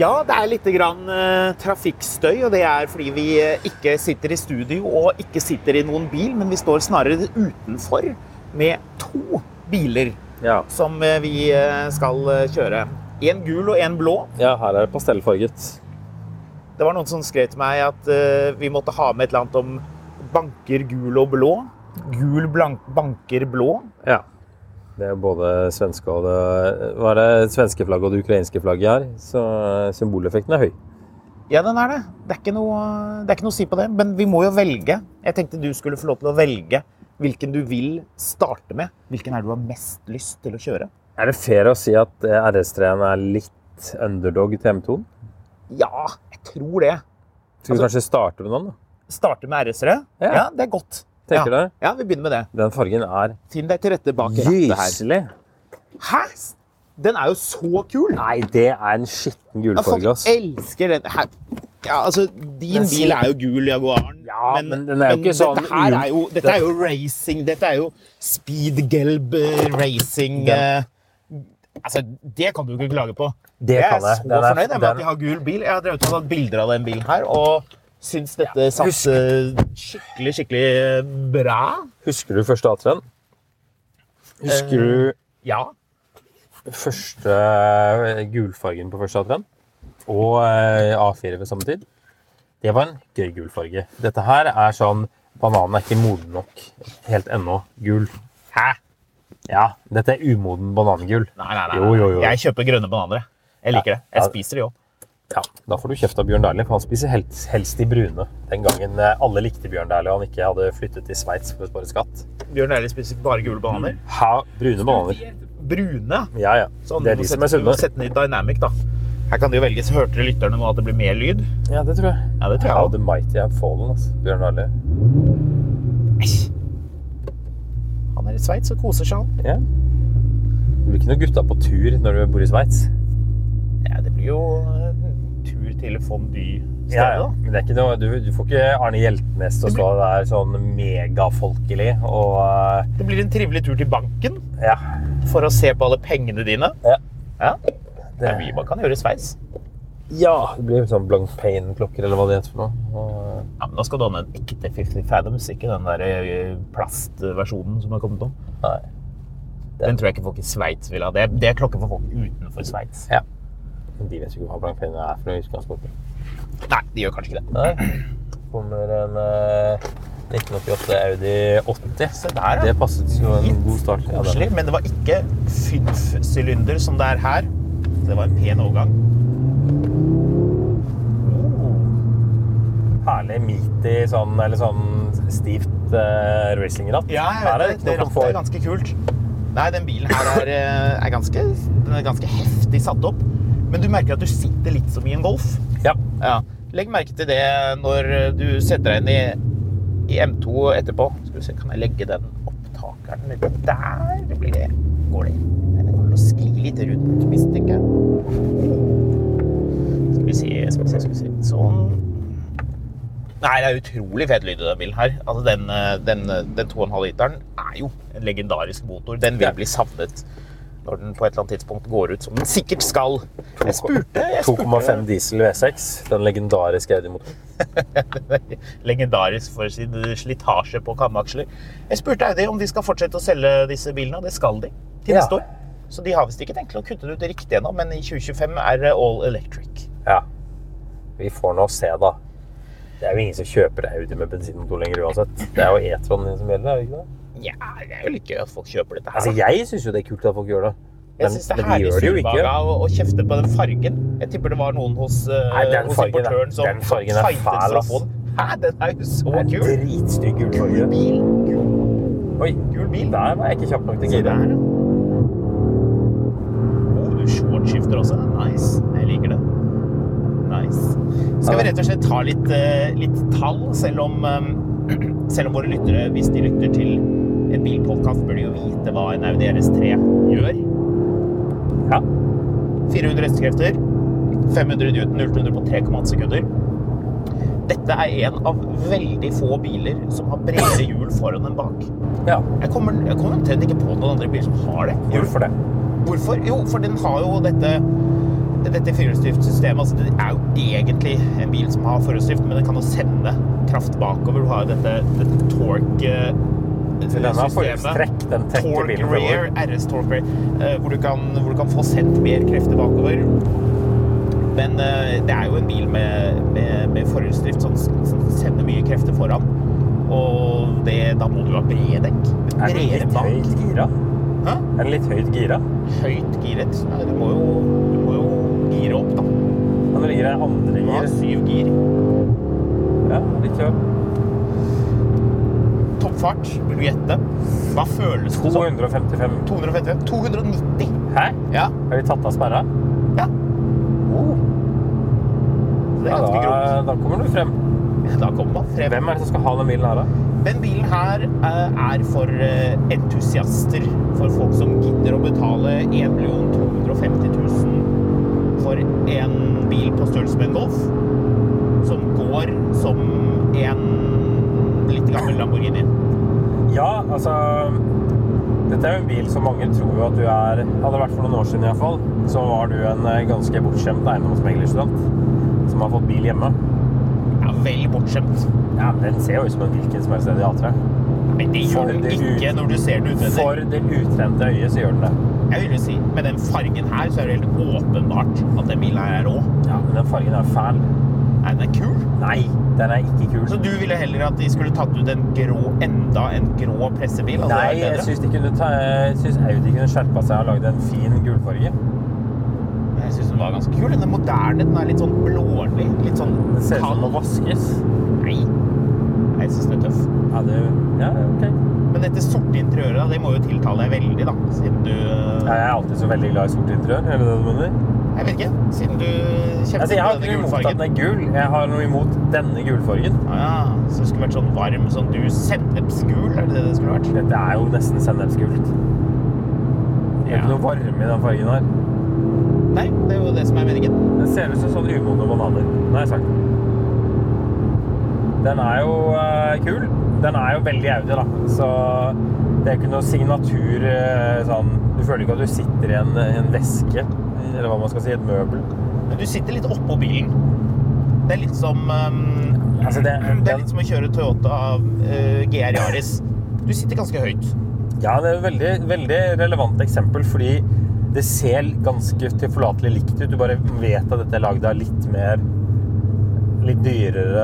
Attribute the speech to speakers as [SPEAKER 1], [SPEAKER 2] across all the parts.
[SPEAKER 1] Ja, det er litt grann, eh, trafikkstøy, og det er fordi vi eh, ikke sitter i studio og ikke sitter i noen bil, men vi står snarere utenfor med to biler
[SPEAKER 2] Ja.
[SPEAKER 1] som eh, vi eh, skal eh, kjøre. En gul og en blå.
[SPEAKER 2] ja, her er det pastellfarget.
[SPEAKER 1] Det var noen som skrev til meg at eh, vi måtte ha med et eller annet om banker gul og blå. Gul blank, banker blå.
[SPEAKER 2] Ja. Det er både svenske og det Hva er det svenske flagget og det ukrainske flagget her? Så eh, symboleffekten er høy.
[SPEAKER 1] Ja, den er det. Det er, ikke noe, det er ikke noe å si på det. Men vi må jo velge. Jeg tenkte du skulle få lov til å velge hvilken du vil starte med. Hvilken er det du har mest lyst til å kjøre?
[SPEAKER 2] Er det fair å si at eh, RS3-en er litt underdog til M2-en?
[SPEAKER 1] Ja, jeg tror det.
[SPEAKER 2] Skal vi
[SPEAKER 1] Altså-
[SPEAKER 2] kanskje starte med noen, da?
[SPEAKER 1] Starte med RS-ere?
[SPEAKER 2] Ja.
[SPEAKER 1] E. det er godt.
[SPEAKER 2] Tenker
[SPEAKER 1] ja.
[SPEAKER 2] du?
[SPEAKER 1] Ja, vi begynner med det.
[SPEAKER 2] Den fargen er
[SPEAKER 1] Finn deg til rette bak rattet her.
[SPEAKER 2] gyselig.
[SPEAKER 1] Hæ? Den er jo så kul!
[SPEAKER 2] Nei, det er en skitten
[SPEAKER 1] Ja, folk
[SPEAKER 2] gulfarge, ass.
[SPEAKER 1] elsker den. Her. Ja, altså, din
[SPEAKER 2] Den
[SPEAKER 1] bil
[SPEAKER 2] ser-
[SPEAKER 1] er jo gul Jaguaren.
[SPEAKER 2] Ja, men den er jo ikke sånn
[SPEAKER 1] Dette, her
[SPEAKER 2] ul-
[SPEAKER 1] er jo, dette er jo racing. Dette er jo speedgelb eh, racing.
[SPEAKER 2] Den-
[SPEAKER 1] eh, altså, det kan du ikke klage på.
[SPEAKER 2] Det
[SPEAKER 1] jeg
[SPEAKER 2] kan
[SPEAKER 1] er
[SPEAKER 2] jeg.
[SPEAKER 1] så
[SPEAKER 2] Den er-
[SPEAKER 1] fornøyd jeg, med
[SPEAKER 2] den-
[SPEAKER 1] at de har gul bil. Jeg har drevet og tatt bilder av den bilen her, og syns dette satt
[SPEAKER 2] husk-
[SPEAKER 1] eh, skikkelig, skikkelig eh, bra.
[SPEAKER 2] Husker du første A3-en? Husker du
[SPEAKER 1] Ja.
[SPEAKER 2] første eh, gulfargen på første A3-en? Og eh, A4 ved samme tid? Det var en gøy gulfarge. Dette her er sånn Bananen er ikke moden nok helt ennå. Gul.
[SPEAKER 1] Hæ?
[SPEAKER 2] Ja, dette er umoden banangul.
[SPEAKER 1] Nei, nei, nei.
[SPEAKER 2] Jo, jo, jo.
[SPEAKER 1] Jeg kjøper grønne bananer. jeg. Jeg liker det. Jeg
[SPEAKER 2] Ja.
[SPEAKER 1] spiser det jo.
[SPEAKER 2] Ja, da får du kjeft av Bjørn Dæhlie, for han spiser helst, helst de brune. Den gangen eh, alle likte Bjørn Dæhlie og han ikke hadde flyttet til Sveits for å spare skatt.
[SPEAKER 1] Bjørn Eilig spiser bare gule bananer.
[SPEAKER 2] Ha, brune bananer.
[SPEAKER 1] Brune.
[SPEAKER 2] Ja, ja.
[SPEAKER 1] Sånn,
[SPEAKER 2] det er
[SPEAKER 1] du må
[SPEAKER 2] de som
[SPEAKER 1] sette-
[SPEAKER 2] er
[SPEAKER 1] du må
[SPEAKER 2] sunne.
[SPEAKER 1] Sette ned dynamic, da. Her kan det jo velges. Hørte lytterne nå at det blir mer lyd?
[SPEAKER 2] Ja, det tror jeg.
[SPEAKER 1] Ja, det tror jeg
[SPEAKER 2] How
[SPEAKER 1] også.
[SPEAKER 2] the mighty have fallen, altså. Bjørn Dæhlie.
[SPEAKER 1] Han er i Sveits og koser seg, han.
[SPEAKER 2] Ja. Det blir ikke noen gutta på tur når du bor i Sveits.
[SPEAKER 1] Ja, det blir jo eh, tur til Fondue-stedet,
[SPEAKER 2] Ja, ja.
[SPEAKER 1] da.
[SPEAKER 2] Men det er ikke noe, du, du får ikke Arne Hjeltnes til å stå der sånn megafolkelig og eh,
[SPEAKER 1] Det blir en trivelig tur til banken
[SPEAKER 2] Ja.
[SPEAKER 1] for å se på alle pengene dine.
[SPEAKER 2] Ja.
[SPEAKER 1] Ja,
[SPEAKER 2] Det,
[SPEAKER 1] Det er mye man kan gjøre i Sveits.
[SPEAKER 2] ja, det blir sånn blank pain-klokker, eller hva det heter for noe. Og, eh,
[SPEAKER 1] Ja, men da skal du ha med en ekte 50 Fathoms, ikke den der eh, plastversjonen som har kommet om.
[SPEAKER 2] Nei.
[SPEAKER 1] Den tror jeg ikke folk i Sveits vil ha. Det, det er klokker for folk utenfor Sveits.
[SPEAKER 2] Ja. Men De vet jo ikke hva blank penger er for noe i utgangspunktet.
[SPEAKER 1] Nei, de gjør kanskje ikke det.
[SPEAKER 2] Nei. Kommer en eh, 1988 Audi 80.
[SPEAKER 1] Se der, ja.
[SPEAKER 2] Det passet jo en god start. Ja,
[SPEAKER 1] Koselig,
[SPEAKER 2] den-
[SPEAKER 1] men det var ikke fynf-sylinder som det er her. Så det var en pen overgang. Oh.
[SPEAKER 2] Herlig meat i sånn, eller sånn stivt eh, racingratt.
[SPEAKER 1] Ja, jeg
[SPEAKER 2] Her
[SPEAKER 1] vet
[SPEAKER 2] er det
[SPEAKER 1] det. Det
[SPEAKER 2] ikke noe
[SPEAKER 1] rattet er
[SPEAKER 2] komfort.
[SPEAKER 1] ganske kult. Nei, den bilen her er, eh, er, ganske, den er ganske heftig satt opp. Men du merker at du sitter litt som i en Golf.
[SPEAKER 2] Ja.
[SPEAKER 1] Ja. Legg merke til det når du setter deg inn i, i M2 etterpå. Skal vi se, kan jeg legge den opptakeren litt der? Det blir det. Går det? Nei, det går vel å skli litt rundt, mistenker jeg. Skal vi se, skal vi se, skal vi se. Sånn. Nei, det er utrolig fet lyd i den bilen her. Altså, den, eh, den, eh, den 2,5 literen er jo en legendarisk motor. Den vil
[SPEAKER 2] Ja.
[SPEAKER 1] bli savnet. når den på et eller annet tidspunkt går ut, som den sikkert skal. Jeg spurte, jeg spurte
[SPEAKER 2] 2,5 diesel V6. Den legendariske Audi-motoren.
[SPEAKER 1] legendarisk for sin slitasje på kamaksler. Jeg spurte Audi om de skal fortsette å selge disse bilene, og det skal de til
[SPEAKER 2] Ja.
[SPEAKER 1] neste år. Så de har visst ikke tenkt å kutte det ut riktig ennå, men i 2025 er det all electric.
[SPEAKER 2] Ja. Vi får nå se, da. Det er jo ingen som kjøper Audi med bensinmotor lenger uansett. Det er jo E-tron som gjelder, er det ikke det?
[SPEAKER 1] Ja, det er jo litt gøy at folk kjøper dette her.
[SPEAKER 2] Altså,
[SPEAKER 1] da.
[SPEAKER 2] jeg syns jo det er kult at folk gjør det.
[SPEAKER 1] jeg syns det er herlig surmaga å, å kjefte på den fargen. Jeg tipper det var noen hos, eh,
[SPEAKER 2] Nei, den
[SPEAKER 1] hos
[SPEAKER 2] fargen er-
[SPEAKER 1] importøren som
[SPEAKER 2] den fargen er
[SPEAKER 1] fightet
[SPEAKER 2] fæl,
[SPEAKER 1] for å
[SPEAKER 2] ass.
[SPEAKER 1] få den. Hæ, den er jo så
[SPEAKER 2] Det er
[SPEAKER 1] kul!
[SPEAKER 2] en dritstygg gul farge.
[SPEAKER 1] Bil.
[SPEAKER 2] Oi,
[SPEAKER 1] Gul bil.
[SPEAKER 2] der var jeg ikke kjapp nok til å
[SPEAKER 1] Se
[SPEAKER 2] gire.
[SPEAKER 1] der, ja. Å, du shortskifter også. Nice. Jeg liker det. Nice. Skal vi rett og slett ta litt, eh, litt tall, selv om, eh, selv om våre lyttere, hvis de lytter til en bilpodkast, bør de jo vite hva en Audi RS3 gjør.
[SPEAKER 2] Ja.
[SPEAKER 1] 400 hestekrefter, 500 Newton 0 til 100 på 3,8 sekunder. Dette er en av veldig få biler som har bredere hjul foran enn bak.
[SPEAKER 2] ja.
[SPEAKER 1] Jeg kommer, jeg kommer omtrent ikke på noen andre biler som har det.
[SPEAKER 2] Hvorfor det?
[SPEAKER 1] Hvorfor? Jo, for den har jo dette dette firehjulsdriftsystemet. Altså, det er jo egentlig en bil som har forhjulsdrift, men den kan jo sende kraft bakover. Du har jo dette, dette
[SPEAKER 2] For den har
[SPEAKER 1] torque-systemet.
[SPEAKER 2] forhjulstrekk. Den trekker
[SPEAKER 1] Torque
[SPEAKER 2] bilen
[SPEAKER 1] rear,
[SPEAKER 2] fremover.
[SPEAKER 1] RS torque rear, eh, hvor, du kan, hvor du kan få sendt mer krefter bakover. Men eh, det er jo en bil med, med, med forhjulsdrift som som sender mye krefter foran. Og det, da må du ha brede dekk.
[SPEAKER 2] Er den
[SPEAKER 1] Bredere
[SPEAKER 2] litt
[SPEAKER 1] bak.
[SPEAKER 2] høyt gira?
[SPEAKER 1] Hæ?
[SPEAKER 2] Er den litt høyt gira?
[SPEAKER 1] høyt giret. Nei, du må jo, du må jo gire opp, da.
[SPEAKER 2] Men det ligger en andre
[SPEAKER 1] Du har
[SPEAKER 2] gir.
[SPEAKER 1] syv gir.
[SPEAKER 2] Ja, litt høyt.
[SPEAKER 1] Toppfart, vil du gjette? Hva føles det som?
[SPEAKER 2] 255.
[SPEAKER 1] 255? 290!
[SPEAKER 2] Hæ?
[SPEAKER 1] Ja.
[SPEAKER 2] Har de tatt av sperra?
[SPEAKER 1] ja. Oh. Så det er
[SPEAKER 2] Ja,
[SPEAKER 1] ganske
[SPEAKER 2] da,
[SPEAKER 1] grovt.
[SPEAKER 2] da kommer du frem.
[SPEAKER 1] Da kommer man frem.
[SPEAKER 2] Hvem er det som skal ha den bilen her, da?
[SPEAKER 1] Den bilen her eh, er for eh, entusiaster. For folk som gidder å betale 1 250 000 for en bil på størrelse med en Golf. Som går som en litt gammel Lamborghini.
[SPEAKER 2] Ja, altså Dette er jo en bil som mange tror jo at du er Hadde det vært for noen år siden i hvert fall, så var du en eh, ganske bortskjemt eiendomsmeglerstudent som har fått bil hjemme.
[SPEAKER 1] Ja, vel bortskjemt.
[SPEAKER 2] Ja, men Den ser jo ut som en hvilken som helst ledig A3.
[SPEAKER 1] Men det
[SPEAKER 2] For
[SPEAKER 1] gjør den
[SPEAKER 2] det
[SPEAKER 1] ikke
[SPEAKER 2] ut-
[SPEAKER 1] når du ser den utvendig.
[SPEAKER 2] For det utrente øyet så gjør den det.
[SPEAKER 1] Jeg vil jo si, med den fargen her, så er det helt åpenbart at den bilen her er rå.
[SPEAKER 2] Ja, Men den fargen er fæl.
[SPEAKER 1] Nei, den er kul.
[SPEAKER 2] Nei, den er ikke
[SPEAKER 1] Så
[SPEAKER 2] kul.
[SPEAKER 1] du ville heller at de skulle tatt ut en grå, enda en grå pressebil? Hadde det
[SPEAKER 2] Nei,
[SPEAKER 1] vært
[SPEAKER 2] jeg
[SPEAKER 1] bedre?
[SPEAKER 2] syns de kunne ta Jeg syns Audi kunne skjerpa seg og lagd en fin gulfarge.
[SPEAKER 1] Jeg synes den var ganske kul. Den er moderne. Den er litt sånn blålig. Litt sånn
[SPEAKER 2] Den ser ut som den må
[SPEAKER 1] kald.
[SPEAKER 2] vaskes.
[SPEAKER 1] Nei, jeg synes den er tøff.
[SPEAKER 2] Ja, det Ja, ok.
[SPEAKER 1] Men dette sorte interiøret, da, det må jo tiltale deg veldig, da. Siden du
[SPEAKER 2] Ja, Jeg er alltid så veldig glad i sort interiør. Er det det du mener?
[SPEAKER 1] Jeg vet ikke. Siden du kjemper
[SPEAKER 2] Altså, jeg har
[SPEAKER 1] med
[SPEAKER 2] ikke
[SPEAKER 1] denne
[SPEAKER 2] noe imot at
[SPEAKER 1] gulfargen.
[SPEAKER 2] den er gul. Jeg har noe imot denne gulfargen.
[SPEAKER 1] Ah, ja. Så det skulle vært sånn varm, sånn du sennepsgul? Er det det det skulle vært?
[SPEAKER 2] Dette er jo nesten sennepsgult. Det er
[SPEAKER 1] Ja.
[SPEAKER 2] ikke noe varme i den fargen her.
[SPEAKER 1] Nei, det er jo det som er meningen.
[SPEAKER 2] Den ser ut som sånn umodne bananer. Nå har jeg sagt det. Den er jo eh, kul. Den er jo veldig Audi, da. Så det er ikke noe signatur eh, sånn Du føler ikke at du sitter i en, en veske, eller hva man skal si, et møbel.
[SPEAKER 1] Men du sitter litt oppå bilen. Det er litt som ehm,
[SPEAKER 2] Altså, det-
[SPEAKER 1] Det er litt som å kjøre Toyota eh, GR Yaris. Du sitter ganske høyt.
[SPEAKER 2] Ja, det er et veldig, veldig relevant eksempel, fordi det ser ganske tilforlatelig likt ut. Du bare vet at dette er lagd av litt mer Litt dyrere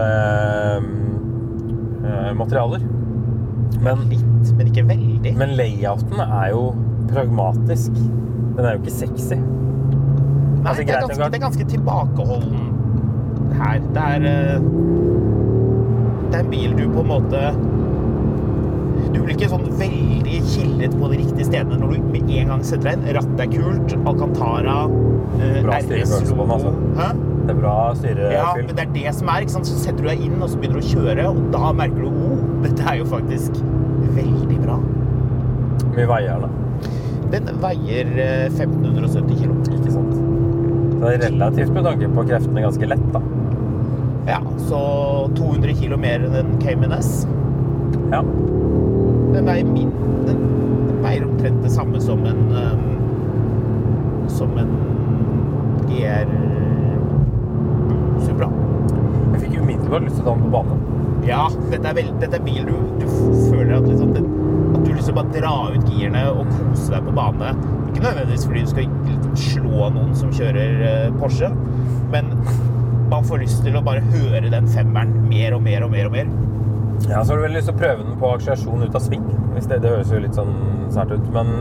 [SPEAKER 2] eh, materialer. Men,
[SPEAKER 1] Litt, men ikke veldig.
[SPEAKER 2] men layouten er jo pragmatisk. Den er jo ikke sexy.
[SPEAKER 1] Nei,
[SPEAKER 2] altså,
[SPEAKER 1] det,
[SPEAKER 2] greit
[SPEAKER 1] er
[SPEAKER 2] nok Mm.
[SPEAKER 1] ganske,
[SPEAKER 2] at-
[SPEAKER 1] det er ganske tilbakeholden her. Det er eh, Det er en bil du på en måte Du blir ikke sånn veldig kildet på de riktige stedene når du med en gang setter deg inn. Rattet er kult. Alcantara. eh,
[SPEAKER 2] Bra
[SPEAKER 1] RS
[SPEAKER 2] styrefølelse på den,
[SPEAKER 1] logo.
[SPEAKER 2] altså.
[SPEAKER 1] Hæ?
[SPEAKER 2] Det er bra
[SPEAKER 1] Ja,
[SPEAKER 2] styrefyll.
[SPEAKER 1] men det er det som er. ikke sant? Så setter du deg inn, og så begynner du å kjøre, og da merker du oh, dette er jo faktisk veldig bra.
[SPEAKER 2] Mye veier, da.
[SPEAKER 1] Den veier eh, 1570 kilo.
[SPEAKER 2] Ikke sant. Så det er relativt med tanke på kreftene ganske lett, da.
[SPEAKER 1] Ja, så 200 kilo mer enn en Cayman S.
[SPEAKER 2] Ja.
[SPEAKER 1] Den veier min Den, den veier omtrent det samme som en um, som en GR Supra.
[SPEAKER 2] Jeg fikk umiddelbart lyst til å ta den på bane.
[SPEAKER 1] Ja, dette er, vel, dette er bil du, du føler at, liksom, den, at du liksom bare drar ut girene og koser deg på bane. Ikke nødvendigvis fordi du skal liksom slå noen som kjører eh, Porsche, men man får lyst til å bare høre den femmeren mer og mer og mer og mer.
[SPEAKER 2] Ja, så har du veldig lyst til å prøve den på akselerasjon ut av sving. Hvis det, det høres jo litt sånn sært ut, men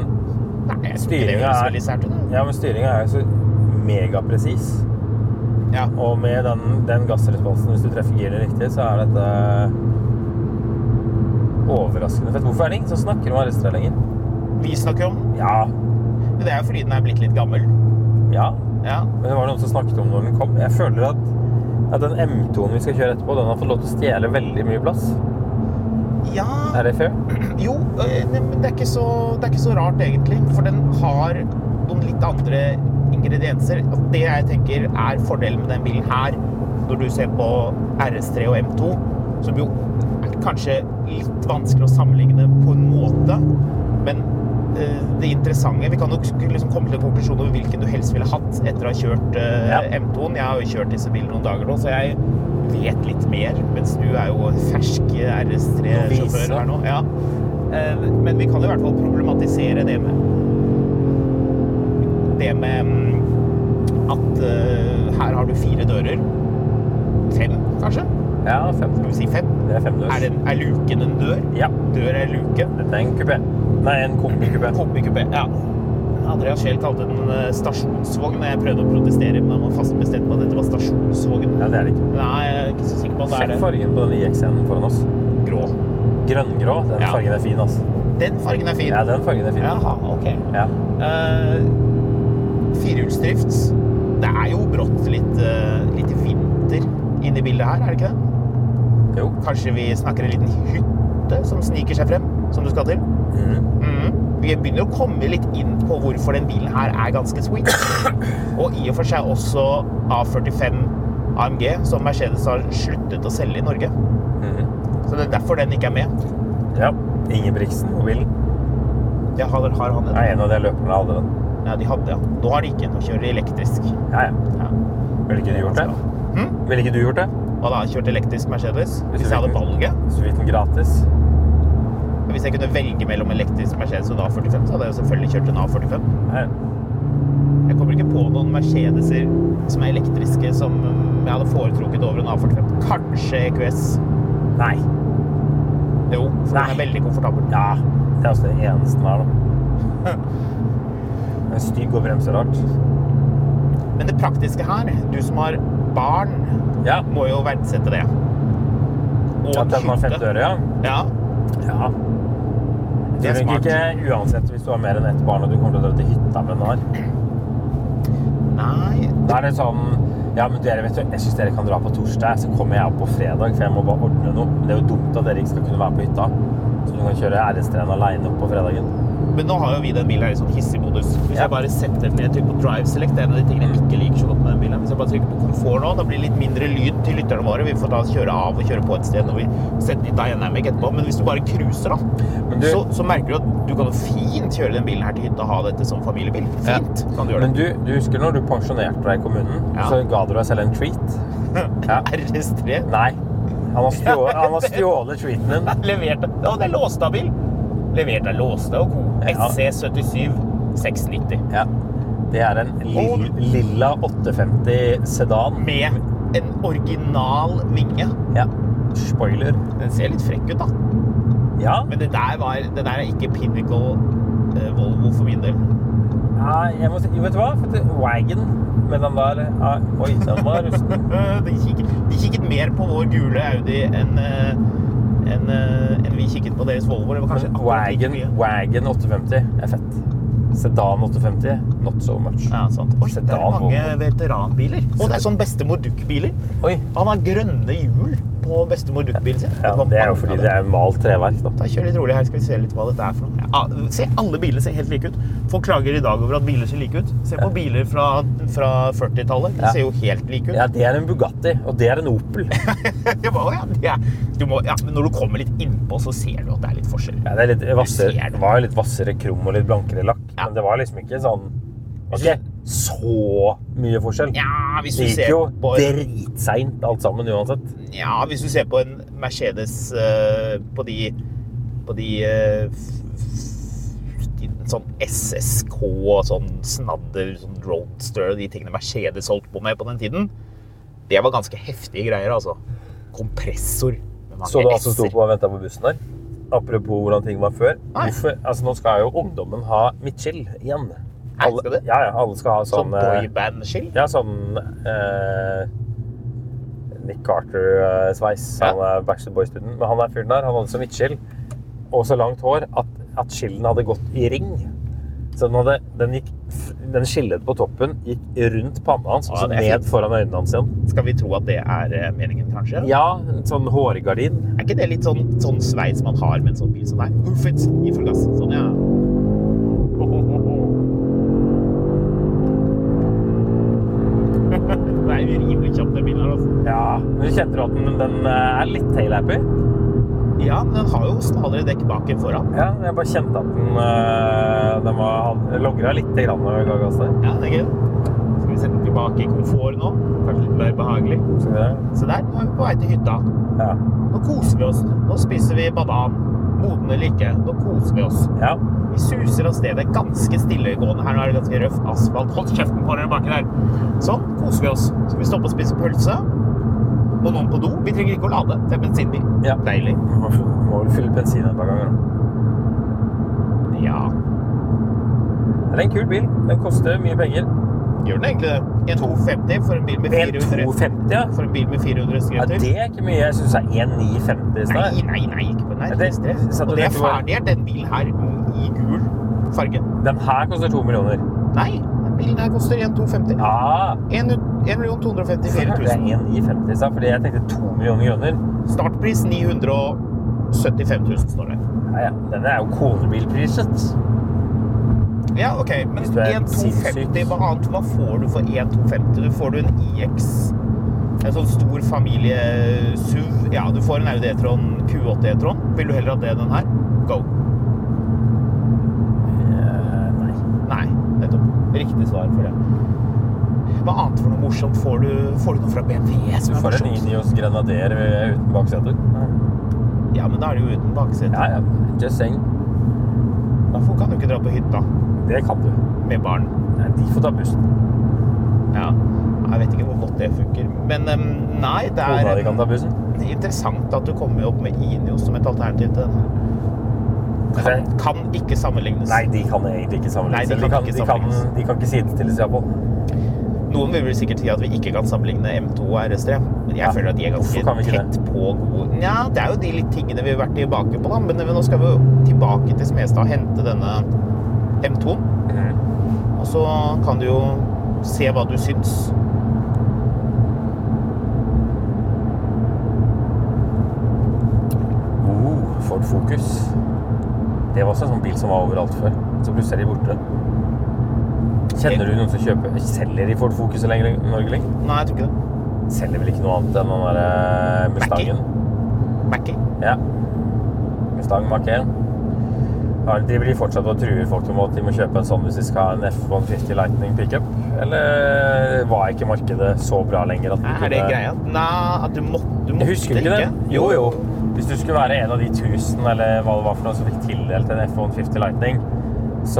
[SPEAKER 1] Nei, jeg synes ikke det
[SPEAKER 2] Styringen
[SPEAKER 1] høres
[SPEAKER 2] er-
[SPEAKER 1] veldig sært ut. da.
[SPEAKER 2] ja, men styringa er jo så megapresis.
[SPEAKER 1] Ja.
[SPEAKER 2] Og med den, den gassresponsen, hvis du treffer giret riktig, så er dette overraskende fett. Hvorfor er det ingen som snakker om RS3 lenger?
[SPEAKER 1] Vi snakker om
[SPEAKER 2] Ja,
[SPEAKER 1] Men det er jo fordi den er blitt litt gammel.
[SPEAKER 2] ja.
[SPEAKER 1] Ja.
[SPEAKER 2] Men det var noen som snakket om når den kom. Jeg føler at, at den M2-en vi skal kjøre etterpå, den har fått lov til å stjele veldig mye plass.
[SPEAKER 1] ja
[SPEAKER 2] Er det fair?
[SPEAKER 1] Jo, øh, ne- men det er, ikke så, det er ikke så rart egentlig, for den har noen litt andre ingredienser. Altså, Det jeg tenker er fordelen med den bilen her, når du ser på RS3 og M2, som jo er kanskje litt vanskelig å sammenligne på en måte, men øh, det interessante Vi kan jo sk- liksom komme til en konklusjon over hvilken du helst ville hatt etter å ha kjørt øh,
[SPEAKER 2] Ja.
[SPEAKER 1] M2-en. Jeg har jo kjørt disse bilene noen dager nå, så jeg vet litt mer, mens du er jo fersk
[SPEAKER 2] Novise.
[SPEAKER 1] RS3-sjåfør her nå. Ja. Eh, Men vi kan i hvert fall problematisere det med Det med mm, at eh, her har du fire dører. Fem, kanskje?
[SPEAKER 2] Ja, fem.
[SPEAKER 1] Skal vi si fem?
[SPEAKER 2] Det er femdørs.
[SPEAKER 1] Er, det, er luken en dør?
[SPEAKER 2] Ja.
[SPEAKER 1] Dør er luke.
[SPEAKER 2] Dette er en kupé. Nei, en kombi-kupé.
[SPEAKER 1] Hobbykupé. Ja. Andreas Scheel kalte den eh, stasjonsvogn. og Jeg prøvde å protestere, men han var fast bestemt på at dette var stasjonsvogn.
[SPEAKER 2] Ja, det er det ikke.
[SPEAKER 1] Nei, jeg er ikke så sikker på at det
[SPEAKER 2] Sjekk
[SPEAKER 1] er det.
[SPEAKER 2] fargen på den IX-en foran oss.
[SPEAKER 1] Grå.
[SPEAKER 2] Grønngrå. Den
[SPEAKER 1] Ja.
[SPEAKER 2] fargen er fin, altså.
[SPEAKER 1] Den fargen er fin.
[SPEAKER 2] Ja, den fargen er fin.
[SPEAKER 1] Jaha, ok.
[SPEAKER 2] Ja.
[SPEAKER 1] Eh, firehjulsdrift. Det er jo brått litt, eh, litt vinter inni bildet her, er det ikke det?
[SPEAKER 2] Jo.
[SPEAKER 1] Kanskje vi snakker en liten hytte som sniker seg frem, som du skal til?
[SPEAKER 2] Mhm.
[SPEAKER 1] Mhm. Vi begynner å komme litt inn på hvorfor den bilen her er ganske sweet. Og i og for seg også A45 AMG, som Mercedes har sluttet å selge i Norge.
[SPEAKER 2] Mhm.
[SPEAKER 1] Så det er derfor den ikke er med.
[SPEAKER 2] Ja. Ingebrigtsen-mobilen
[SPEAKER 1] Ja, har, har han en?
[SPEAKER 2] er en av de løperne hadde den.
[SPEAKER 1] Ja, de hadde, ja. Nå har de ikke. Nå kjører de elektrisk.
[SPEAKER 2] Ja, ja.
[SPEAKER 1] Ja.
[SPEAKER 2] Ville ikke du gjort det?
[SPEAKER 1] Mhm.
[SPEAKER 2] Ville ikke du gjort det?
[SPEAKER 1] Hva da? Kjørt elektrisk Mercedes? Hvis
[SPEAKER 2] Hvis du
[SPEAKER 1] jeg hadde
[SPEAKER 2] velger.
[SPEAKER 1] valget?
[SPEAKER 2] Hvis du fikk den gratis?
[SPEAKER 1] Hvis jeg kunne velge mellom elektrisk Mercedes og en A45, så hadde jeg jo selvfølgelig kjørt en A45.
[SPEAKER 2] Nei.
[SPEAKER 1] Jeg kommer ikke på noen Mercedeser som er elektriske, som jeg hadde foretrukket over en A45. Kanskje EQS.
[SPEAKER 2] Nei.
[SPEAKER 1] Jo, for den
[SPEAKER 2] Nei.
[SPEAKER 1] er veldig komfortabel.
[SPEAKER 2] Ja. Det er altså det eneste den er, da. Den er stygg og bremser rart.
[SPEAKER 1] Men det praktiske her, du som har barn,
[SPEAKER 2] Ja.
[SPEAKER 1] må jo verdsette det. Og
[SPEAKER 2] At den har fem
[SPEAKER 1] hytte.
[SPEAKER 2] dører, ja.
[SPEAKER 1] Ja.
[SPEAKER 2] Ja.
[SPEAKER 1] Det
[SPEAKER 2] Jeg
[SPEAKER 1] er
[SPEAKER 2] tror nok
[SPEAKER 1] smart.
[SPEAKER 2] ikke uansett hvis du har mer enn ett barn og du kommer til å dra til hytta med den her.
[SPEAKER 1] Nei,
[SPEAKER 2] Da er det sånn Ja, men dere vet jo, jeg syns dere kan dra på torsdag, så kommer jeg opp på fredag, for jeg må bare ordne noe. Men det er jo dumt at dere ikke skal kunne være på hytta. Så du kan kjøre RS3-en aleine opp på fredagen.
[SPEAKER 1] Men nå har jo vi den bilen her i sånn hissig-modus. Hvis
[SPEAKER 2] Ja.
[SPEAKER 1] jeg bare setter den ned, trykker på drive select, det er en av de tingene jeg ikke liker så godt med den bilen. Hvis jeg bare trykker på komfort nå, da blir det litt mindre lyd til lytterne våre. Vi får da kjøre av og kjøre på et sted når vi setter den i dynamic etterpå. Men hvis du bare cruiser, da,
[SPEAKER 2] Men du-
[SPEAKER 1] så, så merker du at du kan jo fint kjøre den bilen her til hytta og ha dette som familiebil.
[SPEAKER 2] Ja.
[SPEAKER 1] Fint kan du gjøre
[SPEAKER 2] Men
[SPEAKER 1] det.
[SPEAKER 2] du, du husker når du pensjonerte deg i kommunen,
[SPEAKER 1] Ja.
[SPEAKER 2] så ga du deg selv en treat? Ja.
[SPEAKER 1] RS3
[SPEAKER 2] Nei. Han har stjålet, han har stjålet treaten din.
[SPEAKER 1] leverte Å, det er låsta bil! Levert av låsta og god.
[SPEAKER 2] Ja.
[SPEAKER 1] SC77 690.
[SPEAKER 2] Ja. Det er en lill,
[SPEAKER 1] Og-
[SPEAKER 2] lilla 850 sedan.
[SPEAKER 1] Med en original vinge.
[SPEAKER 2] Ja. Spoiler.
[SPEAKER 1] Den ser litt frekk ut, da.
[SPEAKER 2] Ja.
[SPEAKER 1] Men det der, var, det der er ikke pinnacle eh, Volvo for min del.
[SPEAKER 2] Ja, jeg må si, jo, vet du hva? For det, wagon med den der ja, Oi, den var rusten.
[SPEAKER 1] Eh, De kikket, de kikket mer på vår gule Audi enn eh, enn, eh, enn vi kikket på deres Volvo. Det var kanskje
[SPEAKER 2] Men
[SPEAKER 1] akkurat like
[SPEAKER 2] wagon,
[SPEAKER 1] mye.
[SPEAKER 2] wagon 850 er fett. Sedan 850, not so much.
[SPEAKER 1] Ja, sant. Oi, det er
[SPEAKER 2] Sedan
[SPEAKER 1] mange
[SPEAKER 2] Volvo.
[SPEAKER 1] veteranbiler. Og det er sånn bestemor Duck-biler.
[SPEAKER 2] Oi.
[SPEAKER 1] Han har grønne hjul på bestemor Duck-bilen sin.
[SPEAKER 2] Ja,
[SPEAKER 1] var
[SPEAKER 2] det er jo
[SPEAKER 1] mange
[SPEAKER 2] fordi
[SPEAKER 1] av
[SPEAKER 2] det
[SPEAKER 1] dem.
[SPEAKER 2] er malt treverk, da.
[SPEAKER 1] Da kjør litt rolig her, skal vi se litt hva dette er for noe. Ja, se, alle biler ser helt like ut. Folk klager i dag over at biler ser like ut. Se på biler fra, fra 40-tallet. De
[SPEAKER 2] Ja.
[SPEAKER 1] ser jo helt like ut.
[SPEAKER 2] Ja, det er en Bugatti, og det er en Opel.
[SPEAKER 1] Det var, ja, det er, du må, ja, men når du kommer litt innpå, så ser du at det er litt forskjell.
[SPEAKER 2] Ja, det er litt
[SPEAKER 1] ser
[SPEAKER 2] vassere,
[SPEAKER 1] det.
[SPEAKER 2] var jo litt vassere krum og litt blankere lakk,
[SPEAKER 1] Ja.
[SPEAKER 2] men det var liksom ikke sånn Ok, så mye forskjell.
[SPEAKER 1] Ja, hvis du
[SPEAKER 2] Det gikk
[SPEAKER 1] ser
[SPEAKER 2] jo
[SPEAKER 1] på en,
[SPEAKER 2] dritseint alt sammen uansett.
[SPEAKER 1] ja, hvis du ser på en Mercedes eh, på de, på de, eh, f- de Sånn SSK og sånn snadder, sånn roadster og de tingene Mercedes holdt på med på den tiden. Det var ganske heftige greier, altså. Kompressor. med mange
[SPEAKER 2] Så du altså sto
[SPEAKER 1] S-er.
[SPEAKER 2] på og venta på bussen der? Apropos hvordan ting var før.
[SPEAKER 1] Nei.
[SPEAKER 2] Hvorfor, altså Nå skal jo ungdommen ha midtskill igjen. Alle,
[SPEAKER 1] skal det?
[SPEAKER 2] Ja, ja, alle skal ha
[SPEAKER 1] Sånn
[SPEAKER 2] sånn eh,
[SPEAKER 1] boyband-skill?
[SPEAKER 2] Ja, sånn eh, Nick Carter-sveis.
[SPEAKER 1] Ja.
[SPEAKER 2] Han er Backstreet Boys-student. Men han er fyren der. Han hadde så hvitt skill og så langt hår at, at skillen hadde gått i ring. Så den, hadde, den, gikk, f- den skillet på toppen gikk rundt panna hans og
[SPEAKER 1] Ja,
[SPEAKER 2] så
[SPEAKER 1] det er
[SPEAKER 2] ned
[SPEAKER 1] fint.
[SPEAKER 2] foran øynene hans igjen.
[SPEAKER 1] Skal vi tro at det er eh, meningen, kanskje?
[SPEAKER 2] Ja, en sånn hårgardin.
[SPEAKER 1] Er ikke det litt sånn, sånn sveis man har med en sånn bil som er perfect i full gass? Sånn, ja. Det er urimelig kjapt, den bilen her, altså.
[SPEAKER 2] Ja, men kjente du at den, den eh, er litt tailhappy?
[SPEAKER 1] Ja, men den har jo smalere dekk bak enn foran.
[SPEAKER 2] Ja, jeg bare kjente at den, eh, den var, logra litt grann når jeg ga gass der.
[SPEAKER 1] Ja, det er gøy. Skal vi sette den tilbake i komfort nå? Kanskje litt mer behagelig.
[SPEAKER 2] Skal vi det?
[SPEAKER 1] Se der, nå er vi på vei til hytta.
[SPEAKER 2] Ja.
[SPEAKER 1] Nå koser vi oss. Nå spiser vi banan. Moden eller ikke, nå koser vi oss.
[SPEAKER 2] ja.
[SPEAKER 1] Vi suser av stedet ganske stillegående. Her nå er det ganske røff asfalt. Hold kjeften på dere baki der. Sånn koser vi oss. Så vi stopper og spiser pølse. Og noen på do. Vi trenger ikke å lade. Det er bensinbil.
[SPEAKER 2] Ja.
[SPEAKER 1] Deilig.
[SPEAKER 2] Må, må vel fylle bensin et par ganger. da.
[SPEAKER 1] Ja,
[SPEAKER 2] Det er en kul bil. Den koster mye penger.
[SPEAKER 1] gjør den egentlig det? En 250 for en bil med 400
[SPEAKER 2] 250, ja.
[SPEAKER 1] For en bil med 400
[SPEAKER 2] ja.
[SPEAKER 1] skretter?
[SPEAKER 2] Det er ikke mye. Jeg syns det er 1950 i
[SPEAKER 1] Nei,
[SPEAKER 2] stad.
[SPEAKER 1] nei, nei, ikke på nei,
[SPEAKER 2] Ja,
[SPEAKER 1] det,
[SPEAKER 2] det- så
[SPEAKER 1] Og
[SPEAKER 2] du
[SPEAKER 1] det er
[SPEAKER 2] tenker bare-
[SPEAKER 1] ferdig, den bilen her i gul farge.
[SPEAKER 2] Den her koster to millioner.
[SPEAKER 1] Nei, den bilen her koster 1250.
[SPEAKER 2] Ja,
[SPEAKER 1] 1
[SPEAKER 2] jeg
[SPEAKER 1] 254
[SPEAKER 2] hørte det
[SPEAKER 1] 000.
[SPEAKER 2] er 1950 i stad, fordi jeg tenkte to millioner kroner.
[SPEAKER 1] Startpris 975 000, står det.
[SPEAKER 2] Ja, ja. Den er jo konebilpriset.
[SPEAKER 1] Ja, ok, men
[SPEAKER 2] Hvis du er
[SPEAKER 1] 1250,
[SPEAKER 2] sinnssyk.
[SPEAKER 1] hva annet hva får du for 1250? Du får du en IX, en sånn stor familie-SUV. Ja, du får en Audi E-tron, Q8 E-tron. Vil du heller ha det enn den her? Go.
[SPEAKER 2] Eh, nei.
[SPEAKER 1] Nei, nettopp. Riktig svar for det. Hva annet for noe morsomt får du? Får du noe fra BMW
[SPEAKER 2] Du
[SPEAKER 1] som er
[SPEAKER 2] får en
[SPEAKER 1] morsomt?
[SPEAKER 2] Ineos Grenadier eh, uten bakseter.
[SPEAKER 1] Ja, men da er det jo uten baksete.
[SPEAKER 2] Ja, ja. Just saying.
[SPEAKER 1] Derfor kan du ikke dra på hytta
[SPEAKER 2] Det kan du.
[SPEAKER 1] med barn.
[SPEAKER 2] Nei, de får ta bussen.
[SPEAKER 1] Ja. Jeg vet ikke hvor godt det funker. Men em, nei, det
[SPEAKER 2] Noen av
[SPEAKER 1] er
[SPEAKER 2] de kan ta bussen.
[SPEAKER 1] Det er interessant at du kommer opp med Inio som et alternativ til denne. Kan, kan ikke sammenlignes.
[SPEAKER 2] Nei, de kan egentlig ikke
[SPEAKER 1] Nei,
[SPEAKER 2] sammenlignes.
[SPEAKER 1] de
[SPEAKER 2] Eller
[SPEAKER 1] kan ikke
[SPEAKER 2] de, kan,
[SPEAKER 1] sammenlignes.
[SPEAKER 2] de kan ikke sidestilles, iallfall.
[SPEAKER 1] Noen vil vel sikkert si at vi ikke kan sammenligne M2 og RS3. Men jeg
[SPEAKER 2] Ja.
[SPEAKER 1] føler at de er
[SPEAKER 2] Hvorfor kan vi
[SPEAKER 1] ganske
[SPEAKER 2] ikke
[SPEAKER 1] tett på gode Nja, det er jo de litt tingene vi har vært tilbake på, da. Men nå skal vi jo tilbake til Smestad og hente denne M2-en. Og så kan du jo se hva du syns.
[SPEAKER 2] Oh, Ford Focus. Det var også en sånn bil som var overalt før. Så plutselig er de borte. Kjenner du noen som kjøper selger de Ford Focus i lenger- Norge lenger?
[SPEAKER 1] Nei, jeg tror ikke det.
[SPEAKER 2] Selger vel ikke noe annet enn den derre Mustangen?
[SPEAKER 1] Mackie.
[SPEAKER 2] Ja. Mustang Mach 1. Ja, de blir fortsatt og truer folk om at de må kjøpe en sånn hvis de skal ha en F-150 Lightning pickup. Eller var ikke markedet så bra lenger at de
[SPEAKER 1] Er det greia? Nei, at du måtte, du måtte
[SPEAKER 2] Jeg husker du ikke det? Jo, jo. Hvis du skulle være en av de tusen eller hva det var for noe som fikk tildelt en F-150 Lightning, så,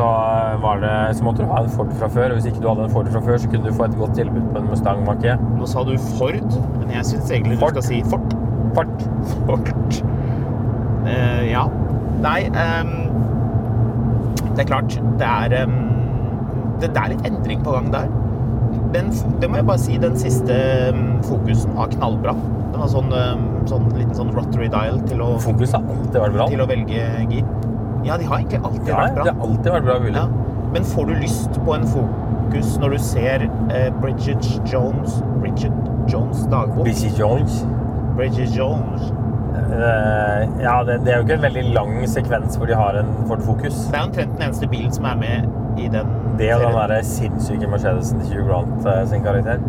[SPEAKER 2] var det, så måtte du ha en Ford fra før. Og hvis ikke du hadde en Ford fra før, så kunne du få et godt tilbud på en Mustang Mach E.
[SPEAKER 1] Nå sa du Ford, men jeg syns egentlig
[SPEAKER 2] Ford.
[SPEAKER 1] du skal si Ford.
[SPEAKER 2] Fart.
[SPEAKER 1] Ford. Eh, ja. Nei, ehm, det er klart. Det er, ehm, det, det er litt endring på gang der. Den, f- det må jeg bare si, den siste ehm, fokusen var knallbra. Den var sånn, ehm, sånn liten sånn rotary dial til å,
[SPEAKER 2] Fokus har alltid vært bra.
[SPEAKER 1] til å velge gir. Ja, de har egentlig alltid
[SPEAKER 2] Ja,
[SPEAKER 1] vært bra.
[SPEAKER 2] det har alltid vært bra mulig.
[SPEAKER 1] Ja. Men får du lyst på en fokus når du ser eh, Bridget Jones Bridget Jones dagbok?
[SPEAKER 2] BC Jones.
[SPEAKER 1] Bridget Jones.
[SPEAKER 2] Eh, ja, det, det er jo ikke en veldig lang sekvens hvor de har en Ford Focus.
[SPEAKER 1] Det er omtrent den eneste bilen som er med i den
[SPEAKER 2] Det og den
[SPEAKER 1] serien.
[SPEAKER 2] der sinnssyke Mercedesen til Hugh Grant eh, sin karakter.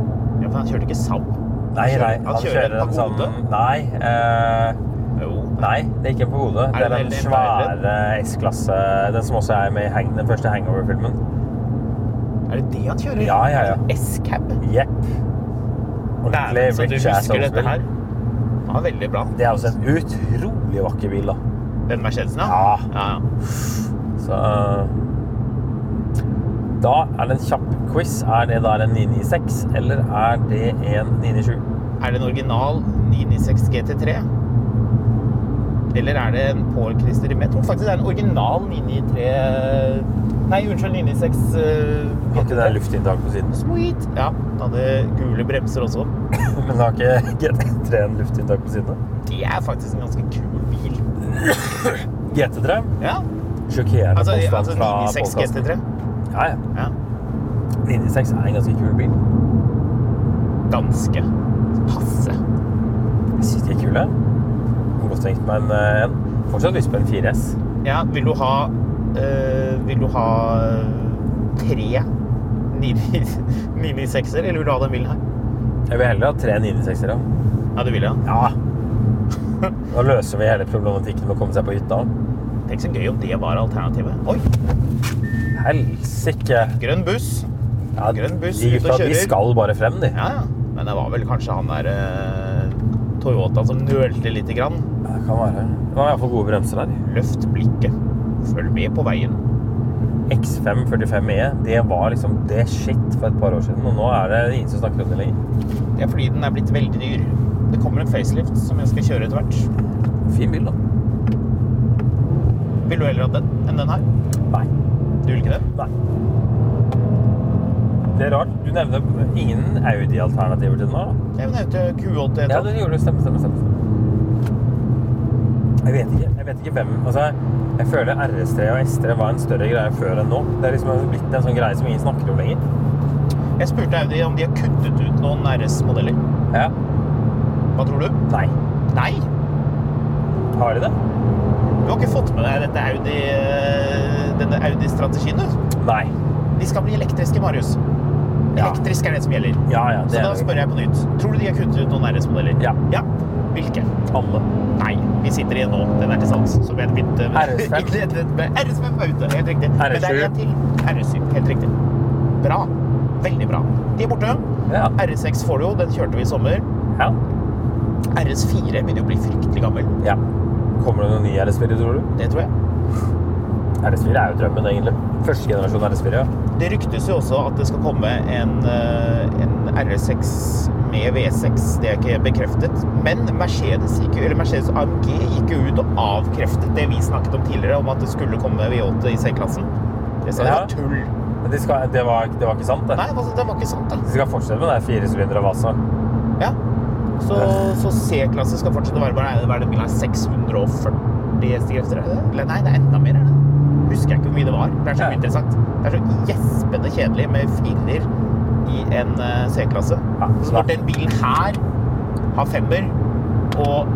[SPEAKER 1] Ja, for han kjørte ikke Saab.
[SPEAKER 2] Nei,
[SPEAKER 1] kjører-
[SPEAKER 2] nei,
[SPEAKER 1] han
[SPEAKER 2] han
[SPEAKER 1] kjører
[SPEAKER 2] kjører
[SPEAKER 1] en
[SPEAKER 2] en sånn
[SPEAKER 1] pagode?
[SPEAKER 2] Nei, eh,
[SPEAKER 1] Jo.
[SPEAKER 2] nei, det er ikke en på hodet. Det
[SPEAKER 1] Er
[SPEAKER 2] er
[SPEAKER 1] det
[SPEAKER 2] den
[SPEAKER 1] veldig
[SPEAKER 2] svære S-klasse, den som også er med i hang, den første Hangover-filmen.
[SPEAKER 1] Er Er det det han kjører?
[SPEAKER 2] Ja, ja, ja.
[SPEAKER 1] S-cab.
[SPEAKER 2] Jepp. Ordentlig
[SPEAKER 1] Dæven, så du
[SPEAKER 2] rich ass
[SPEAKER 1] husker dette
[SPEAKER 2] Oldsmobile.
[SPEAKER 1] her. Ja, veldig bra.
[SPEAKER 2] Det er også en utrolig vakker bil, da.
[SPEAKER 1] Den Mercedesen,
[SPEAKER 2] Ja.
[SPEAKER 1] ja. ja.
[SPEAKER 2] Så eh, Da er det en kjapp quiz. Er det der en 996, eller er det en 997?
[SPEAKER 1] Er det en original 996 GT3? Eller er det en Paul Christer Rimet? Jeg tror faktisk det er en original 993 Nei, unnskyld, 996 eh,
[SPEAKER 2] Har ikke det luftinntak på siden?
[SPEAKER 1] Sweet! Ja, den hadde gule bremser også.
[SPEAKER 2] Men det har ikke GT3 en luftinntak på siden? da?
[SPEAKER 1] Det er faktisk en ganske kul bil.
[SPEAKER 2] GT3
[SPEAKER 1] Ja,
[SPEAKER 2] sjokkerende
[SPEAKER 1] altså,
[SPEAKER 2] påstand
[SPEAKER 1] altså
[SPEAKER 2] fra
[SPEAKER 1] 996
[SPEAKER 2] podcasten.
[SPEAKER 1] GT3.
[SPEAKER 2] Ja, ja.
[SPEAKER 1] Ja.
[SPEAKER 2] 996 er en ganske kul bil.
[SPEAKER 1] Danske. Passe.
[SPEAKER 2] Jeg syns de er kule. Kunne Godt tenkt meg en, eh, en. Fortsatt lyst på en 4S.
[SPEAKER 1] Ja, vil du ha eh, Vil du ha eh, tre 996-er, eller vil du ha den bilen her?
[SPEAKER 2] Jeg vil heller ha tre 996-ere.
[SPEAKER 1] Ja, du vil det?
[SPEAKER 2] Ja. Nå løser vi hele problematikken med å komme seg på hytta.
[SPEAKER 1] Tenk så gøy om det var alternativet. Oi,
[SPEAKER 2] Helsike!
[SPEAKER 1] grønn buss.
[SPEAKER 2] Ja,
[SPEAKER 1] Grønn buss,
[SPEAKER 2] de
[SPEAKER 1] ut og
[SPEAKER 2] gutta de
[SPEAKER 1] kjører.
[SPEAKER 2] skal bare frem, de.
[SPEAKER 1] Ja, ja. Men det var vel kanskje han der eh, Toyota som nølte lite grann.
[SPEAKER 2] Det kan være. Det var iallfall gode bremser der.
[SPEAKER 1] Løft blikket. Følg med på veien.
[SPEAKER 2] X5 45E, det var liksom det shit for et par år siden. Og nå er det ingen som snakker om det lenger.
[SPEAKER 1] Det er fordi den er blitt veldig dyr. Det kommer en facelift som jeg skal kjøre etter hvert.
[SPEAKER 2] Fin bil, da.
[SPEAKER 1] Vil du heller ha den enn den her?
[SPEAKER 2] Nei.
[SPEAKER 1] Du vil ikke det?
[SPEAKER 2] Nei. Det er rart. Du nevner ingen Audi-alternativer til den her, da.
[SPEAKER 1] Jeg nevnte Q8.
[SPEAKER 2] Ja, det gjorde du. Stemme, stemme, stemme. Jeg vet ikke, jeg vet ikke hvem Altså, jeg føler RS3 og S3 var en større greie før enn nå. Det er liksom blitt en sånn greie som ingen snakker om lenger.
[SPEAKER 1] Jeg spurte Audi om de har kuttet ut noen RS-modeller.
[SPEAKER 2] Ja.
[SPEAKER 1] Hva tror du?
[SPEAKER 2] Nei.
[SPEAKER 1] Nei!
[SPEAKER 2] Har de det?
[SPEAKER 1] Du har ikke fått med deg dette Audi, eh, denne Audi-strategien, du.
[SPEAKER 2] Nei.
[SPEAKER 1] De skal bli elektriske, Marius.
[SPEAKER 2] Ja.
[SPEAKER 1] Elektrisk er det som gjelder.
[SPEAKER 2] Ja, ja.
[SPEAKER 1] Så
[SPEAKER 2] Det
[SPEAKER 1] da
[SPEAKER 2] er
[SPEAKER 1] spør jeg på nytt. Tror du de har kuttet ut noen RS-modeller?
[SPEAKER 2] Ja.
[SPEAKER 1] Hvilke?
[SPEAKER 2] alle.
[SPEAKER 1] Nei, vi sitter igjen nå. Den er til salgs. Så vi er begynt eh, med-
[SPEAKER 2] RS5.
[SPEAKER 1] ikke det, med RS5 er ute. Helt riktig. Men det er
[SPEAKER 2] RS7.
[SPEAKER 1] en til. RS7. Helt riktig. Bra. Veldig bra. De er borte.
[SPEAKER 2] Ja.
[SPEAKER 1] RS6 får du jo. Den kjørte vi i sommer.
[SPEAKER 2] ja.
[SPEAKER 1] RS4 begynner jo å bli fryktelig gammel.
[SPEAKER 2] ja. Kommer det noen nye RS4, tror du?
[SPEAKER 1] Det tror jeg.
[SPEAKER 2] RS4 er jo drømmen, egentlig. Første generasjon RS4, ja.
[SPEAKER 1] Det ryktes jo også at det skal komme en, eh, en RS6 med V6. Det er ikke bekreftet. Men Mercedes, gikk, jo- eller Mercedes AMG gikk jo ut og avkreftet det vi snakket om tidligere, om at det skulle komme V8 i C-klassen. Det sa de
[SPEAKER 2] Ja.
[SPEAKER 1] var tull.
[SPEAKER 2] Men de skal, det, var, det var ikke sant, det.
[SPEAKER 1] Nei, altså, det var ikke sant, da.
[SPEAKER 2] De skal fortsette med den firesylinderen Vasa.
[SPEAKER 1] Ja. Så, så C-klasse skal fortsette å være bare Hva er det bilen har 640 hestekrefter? er det det? Eller nei, det er enda mer, er det? Husker jeg ikke hvor mye det var. Det er så
[SPEAKER 2] Ja.
[SPEAKER 1] uinteressant. Det er så gjespende kjedelig med firer i en eh, C-klasse.
[SPEAKER 2] Ja,
[SPEAKER 1] Så når den bilen her har femmer, og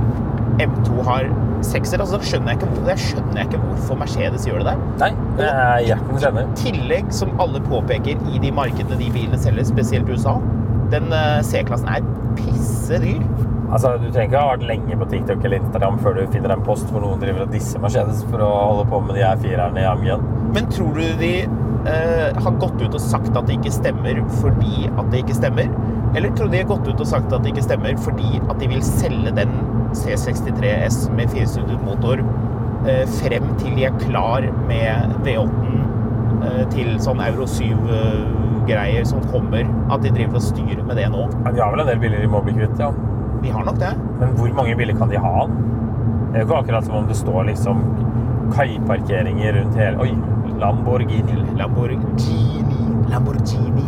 [SPEAKER 1] M2 har sekser, altså, da skjønner jeg, ikke, jeg skjønner jeg ikke hvorfor Mercedes gjør det der.
[SPEAKER 2] Nei, det er hjertens enig.
[SPEAKER 1] I tillegg, som alle påpeker i de markedene de bilene selger, spesielt USA, den eh, C-klassen er pisse dyr.
[SPEAKER 2] Altså, Du trenger ikke ha vært lenge på TikTok eller Instagram før du finner en post hvor noen driver og disser Mercedes for å holde på med de her firerne i AMG-en.
[SPEAKER 1] Men tror du de eh, har gått ut og sagt at det ikke stemmer fordi at det ikke stemmer? Eller tror du de har gått ut og sagt at det ikke stemmer fordi at de vil selge den C63S med firestudet motor eh, frem til de er klar med V8-en eh, til sånn Euro 7-greier som kommer? At de driver og styrer med det nå?
[SPEAKER 2] Ja, De har vel en del biler de må bli kvitt, ja.
[SPEAKER 1] De har nok det.
[SPEAKER 2] Men hvor mange biler kan de ha? Det er jo ikke akkurat som om det står liksom kaiparkeringer rundt hele Oi, Lamborghini.
[SPEAKER 1] Lamborghini. Lamborghini.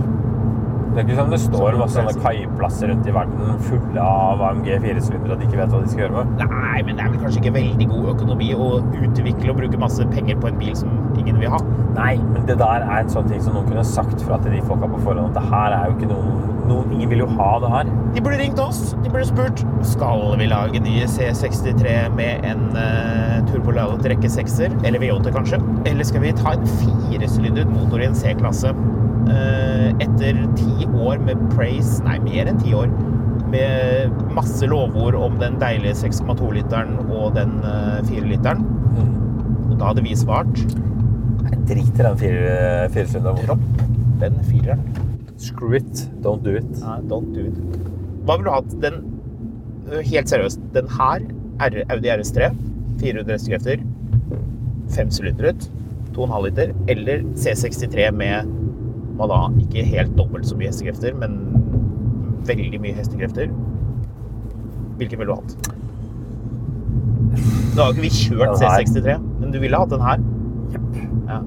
[SPEAKER 2] Det er ikke som det står masse sånne kaiplasser rundt i verden fulle av AMG firesylindere og de ikke vet hva de skal gjøre med.
[SPEAKER 1] Nei, men det er vel kanskje ikke veldig god økonomi å utvikle og bruke masse penger på en bil som ingen vil ha.
[SPEAKER 2] Nei, men det der er en sånn ting som noen kunne sagt fra til de folka på forhånd. At det her er jo ikke noen, noen Ingen vil jo ha det her.
[SPEAKER 1] De burde ringt oss. De burde spurt Skal vi lage nye C63 med en uh, turboladet rekke sekser, eller V8 kanskje. Eller skal vi ta en firesylindret motor i en C-klasse eh, etter ti år med praise Nei, mer enn ti år. Med masse lovord om den deilige 6,2-literen og den eh, 4-literen. Og da hadde vi svart
[SPEAKER 2] Jeg driter i den fire- firesylinderen.
[SPEAKER 1] dropp Den fireren.
[SPEAKER 2] Screw it, don't do it.
[SPEAKER 1] Nei, don't do it. Hva ville du hatt? Den, øh, helt seriøst, den her, R, Audi RS3, 400 hestekrefter, 5 sylinder ut, 2,5 liter, eller C63 med hva da, ikke helt dobbelt så mye hestekrefter, men veldig mye hestekrefter. Hvilken ville du hatt? Nå har jo ikke vi kjørt
[SPEAKER 2] Den her.
[SPEAKER 1] C63, men du ville hatt den her? Ja.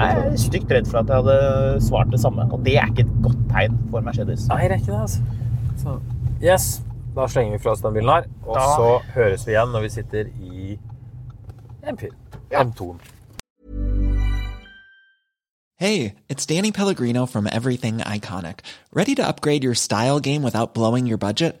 [SPEAKER 1] Jeg er stygt redd for at jeg hadde svart det samme, og det er ikke et godt tegn for Mercedes.
[SPEAKER 2] Nei, det er ikke det, altså. Så, yes, da slenger vi fra oss den bilen her, og
[SPEAKER 1] Da-
[SPEAKER 2] så høres vi igjen når vi sitter i M4. M2-en.
[SPEAKER 3] Hey, it's Danny Pellegrino from Everything Iconic. Ready to upgrade your style game without blowing your budget?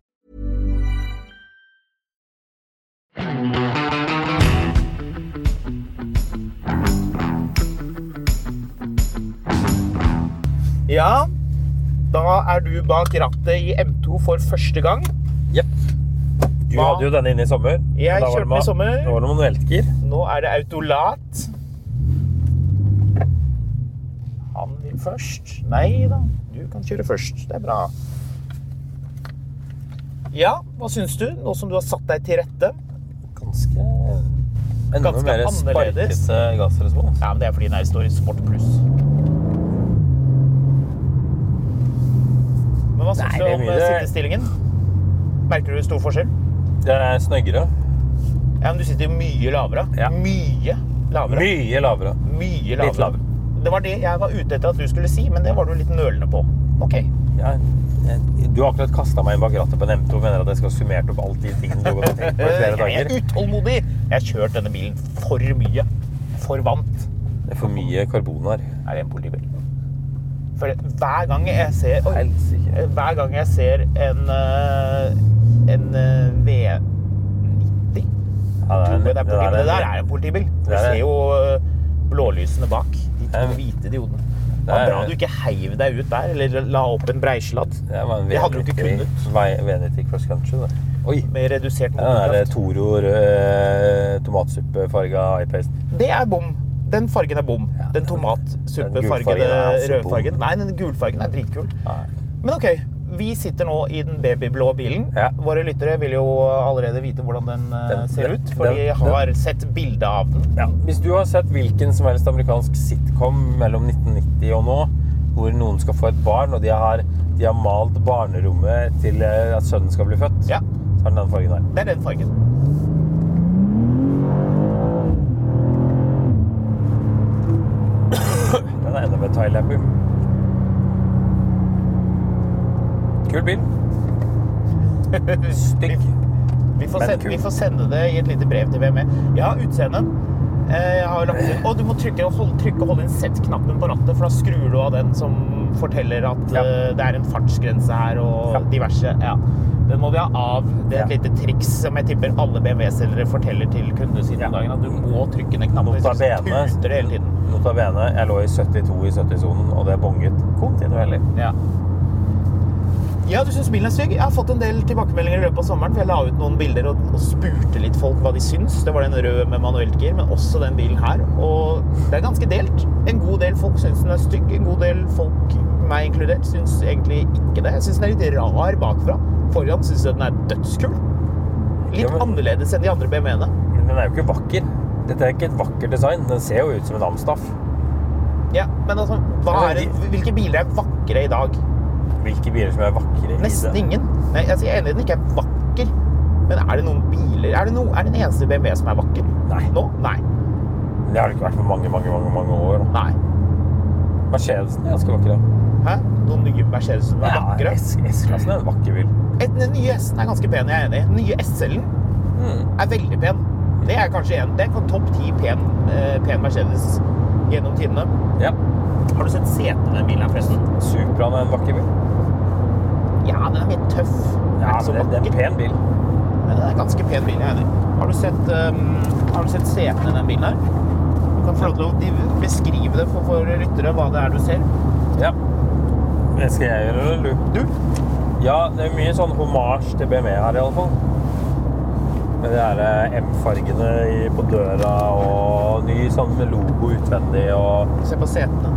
[SPEAKER 1] Ja, da er du bak rattet i M2 for første gang.
[SPEAKER 2] Jep. Du
[SPEAKER 1] Hva?
[SPEAKER 2] hadde jo denne inne i sommer. og
[SPEAKER 1] Jeg
[SPEAKER 2] da var det
[SPEAKER 1] kjørte den i
[SPEAKER 2] ma-
[SPEAKER 1] sommer.
[SPEAKER 2] Da var det manueltgir.
[SPEAKER 1] Nå er det autolat. Han vil først. Nei da, du kan kjøre først. Det er bra. Ja, hva syns du, nå som du har satt deg til rette?
[SPEAKER 2] Ganske Enda
[SPEAKER 1] Ganske
[SPEAKER 2] mer
[SPEAKER 1] annerledes.
[SPEAKER 2] sparkete gassrespons.
[SPEAKER 1] Ja, men Det er fordi den her står i Sport pluss. Men hva syns
[SPEAKER 2] Nei,
[SPEAKER 1] du
[SPEAKER 2] det er
[SPEAKER 1] om
[SPEAKER 2] mye-
[SPEAKER 1] eh, sittestillingen? Merker du stor forskjell?
[SPEAKER 2] Det er snøggere.
[SPEAKER 1] Ja, men Du sitter jo mye lavere.
[SPEAKER 2] Ja.
[SPEAKER 1] Mye lavere.
[SPEAKER 2] Mye lavere.
[SPEAKER 1] Mye lavere.
[SPEAKER 2] lavere.
[SPEAKER 1] Det var det jeg var ute etter at du skulle si, men det var du litt nølende på. Ok.
[SPEAKER 2] Ja, jeg- du har akkurat kasta meg inn bak rattet på en M2 og mener at jeg skal ha summert opp alt de tingene du har gått og tenkt på i flere
[SPEAKER 1] Eh, Jeg er
[SPEAKER 2] dager.
[SPEAKER 1] utålmodig. Jeg har kjørt denne bilen for mye. For vant.
[SPEAKER 2] Det er for mye karbon her.
[SPEAKER 1] Er det en politibil? For hver gang jeg ser Oi. eh,
[SPEAKER 2] Helsike.
[SPEAKER 1] Hver gang jeg ser en eh, en eh, V90
[SPEAKER 2] Ja, det er en-
[SPEAKER 1] det, er en politibil.
[SPEAKER 2] det er en-
[SPEAKER 1] det der er en politibil. Du
[SPEAKER 2] Det er det.
[SPEAKER 1] ser jo eh, blålysene bak. De
[SPEAKER 2] Det
[SPEAKER 1] to
[SPEAKER 2] er-
[SPEAKER 1] hvite diodene. Det
[SPEAKER 2] Det
[SPEAKER 1] var
[SPEAKER 2] er-
[SPEAKER 1] bra du ikke heiv deg ut der, eller la opp en breisladd
[SPEAKER 2] Det var en
[SPEAKER 1] Det hadde du ikke
[SPEAKER 2] V90
[SPEAKER 1] kunnet.
[SPEAKER 2] vei- V90 cross country. Det. Oi.
[SPEAKER 1] med redusert
[SPEAKER 2] Den der
[SPEAKER 1] motorkraft.
[SPEAKER 2] Toro rød tomatsuppefarga iPaste.
[SPEAKER 1] Det er bom. Den fargen er bom.
[SPEAKER 2] Ja,
[SPEAKER 1] Den
[SPEAKER 2] den- den
[SPEAKER 1] tomatsuppefargede
[SPEAKER 2] gulfargen er også
[SPEAKER 1] rødfargen.
[SPEAKER 2] bom.
[SPEAKER 1] Nei, den gulfargen er dritkul. Men OK. Vi sitter nå i den babyblå bilen.
[SPEAKER 2] Ja.
[SPEAKER 1] Våre lyttere vil jo allerede vite hvordan den, eh,
[SPEAKER 2] Den-
[SPEAKER 1] ser
[SPEAKER 2] den-
[SPEAKER 1] ut, for
[SPEAKER 2] den-
[SPEAKER 1] de har sett bilde av den.
[SPEAKER 2] Ja. Hvis du har sett hvilken som helst amerikansk sitcom mellom 1990 og nå, hvor noen skal få et barn, og de har, de har malt barnerommet til eh, at sønnen skal bli født,
[SPEAKER 1] Ja,
[SPEAKER 2] så har den den fargen her.
[SPEAKER 1] det er den fargen.
[SPEAKER 2] Den er enda med Thailander. Kul bil. Stygg.
[SPEAKER 1] Vi får,
[SPEAKER 2] Men
[SPEAKER 1] sende,
[SPEAKER 2] kul.
[SPEAKER 1] vi får sende det i et lite brev til VME. Jeg har utseendet. Eh, Jeg har lagt inn. Og du må trykke og holde, trykke og holde inn Z-knappen på rattet, for da skrur du av den som forteller at
[SPEAKER 2] Ja.
[SPEAKER 1] eh, det er en fartsgrense her og
[SPEAKER 2] Ja.
[SPEAKER 1] diverse. Ja. Den må vi ha av. Det er et
[SPEAKER 2] Ja.
[SPEAKER 1] lite triks som jeg tipper alle BMW-selgere forteller til kundene sine om dagen, at du må trykke ned knappen. Hvis ikke
[SPEAKER 2] Notabene.
[SPEAKER 1] så tuter det hele tiden.
[SPEAKER 2] Notabene, jeg lå i 72 i 70-sonen, og det bonget kontinuerlig.
[SPEAKER 1] Ja. Ja, du syns bilen er stygg? Jeg har fått en del tilbakemeldinger i løpet av sommeren. For jeg la ut noen bilder og, og spurte litt folk hva de syns. Det var den røde med manuelt gir, men også den bilen her. Og det er ganske delt. En god del folk syns den er stygg. En god del folk, meg inkludert, syns egentlig ikke det. Jeg syns den er litt rar bakfra. Foran syns jeg den er dødskul. Litt
[SPEAKER 2] Ja, men-
[SPEAKER 1] annerledes enn de andre BMW-ene.
[SPEAKER 2] Men den er jo ikke vakker. Dette er ikke et vakkert design. Den ser jo ut som en Amstaff.
[SPEAKER 1] Ja, men altså, hva er det, hvilke biler er vakre i dag?
[SPEAKER 2] Hvilke biler som er vakre i
[SPEAKER 1] Nesten
[SPEAKER 2] det.
[SPEAKER 1] ingen. Nei, altså, jeg er enig i at den ikke er vakker, men er det noen biler Er det, no, er det den eneste BMW som er vakker?
[SPEAKER 2] Nei.
[SPEAKER 1] Nå? Nei.
[SPEAKER 2] Det har det ikke vært på mange, mange, mange, mange år. da.
[SPEAKER 1] Nei.
[SPEAKER 2] Mercedesen er ganske vakker, da.
[SPEAKER 1] Hæ? Noen nye Mercedes som er vakre?
[SPEAKER 2] Ja, S- S-klassen er en vakker bil.
[SPEAKER 1] Et, den nye S-en er ganske pen, jeg er enig. Den nye SL-en
[SPEAKER 2] Hmm.
[SPEAKER 1] er veldig pen. Det er kanskje en, det er en topp ti pen, eh, pen Mercedes gjennom tidene.
[SPEAKER 2] Ja.
[SPEAKER 1] Har du sett setet i den bilen her, forresten?
[SPEAKER 2] Supraen er en vakker bil.
[SPEAKER 1] Ja, den er mer tøff. Den er
[SPEAKER 2] Ja,
[SPEAKER 1] ikke så
[SPEAKER 2] det, det er en
[SPEAKER 1] vakker.
[SPEAKER 2] pen bil.
[SPEAKER 1] Men den er ganske pen bil, jeg er enig. Har du sett, um, har du sett setene i den bilen her? Du kan få lov til å de- beskrive det for, for lyttere, hva det er du ser.
[SPEAKER 2] Ja. Det skal jeg gjøre, eller du? Ja, det er mye sånn hommage til BMW her, i alle fall. Med de her eh, M-fargene i- på døra og ny sånn logo utvendig og
[SPEAKER 1] Se på setene.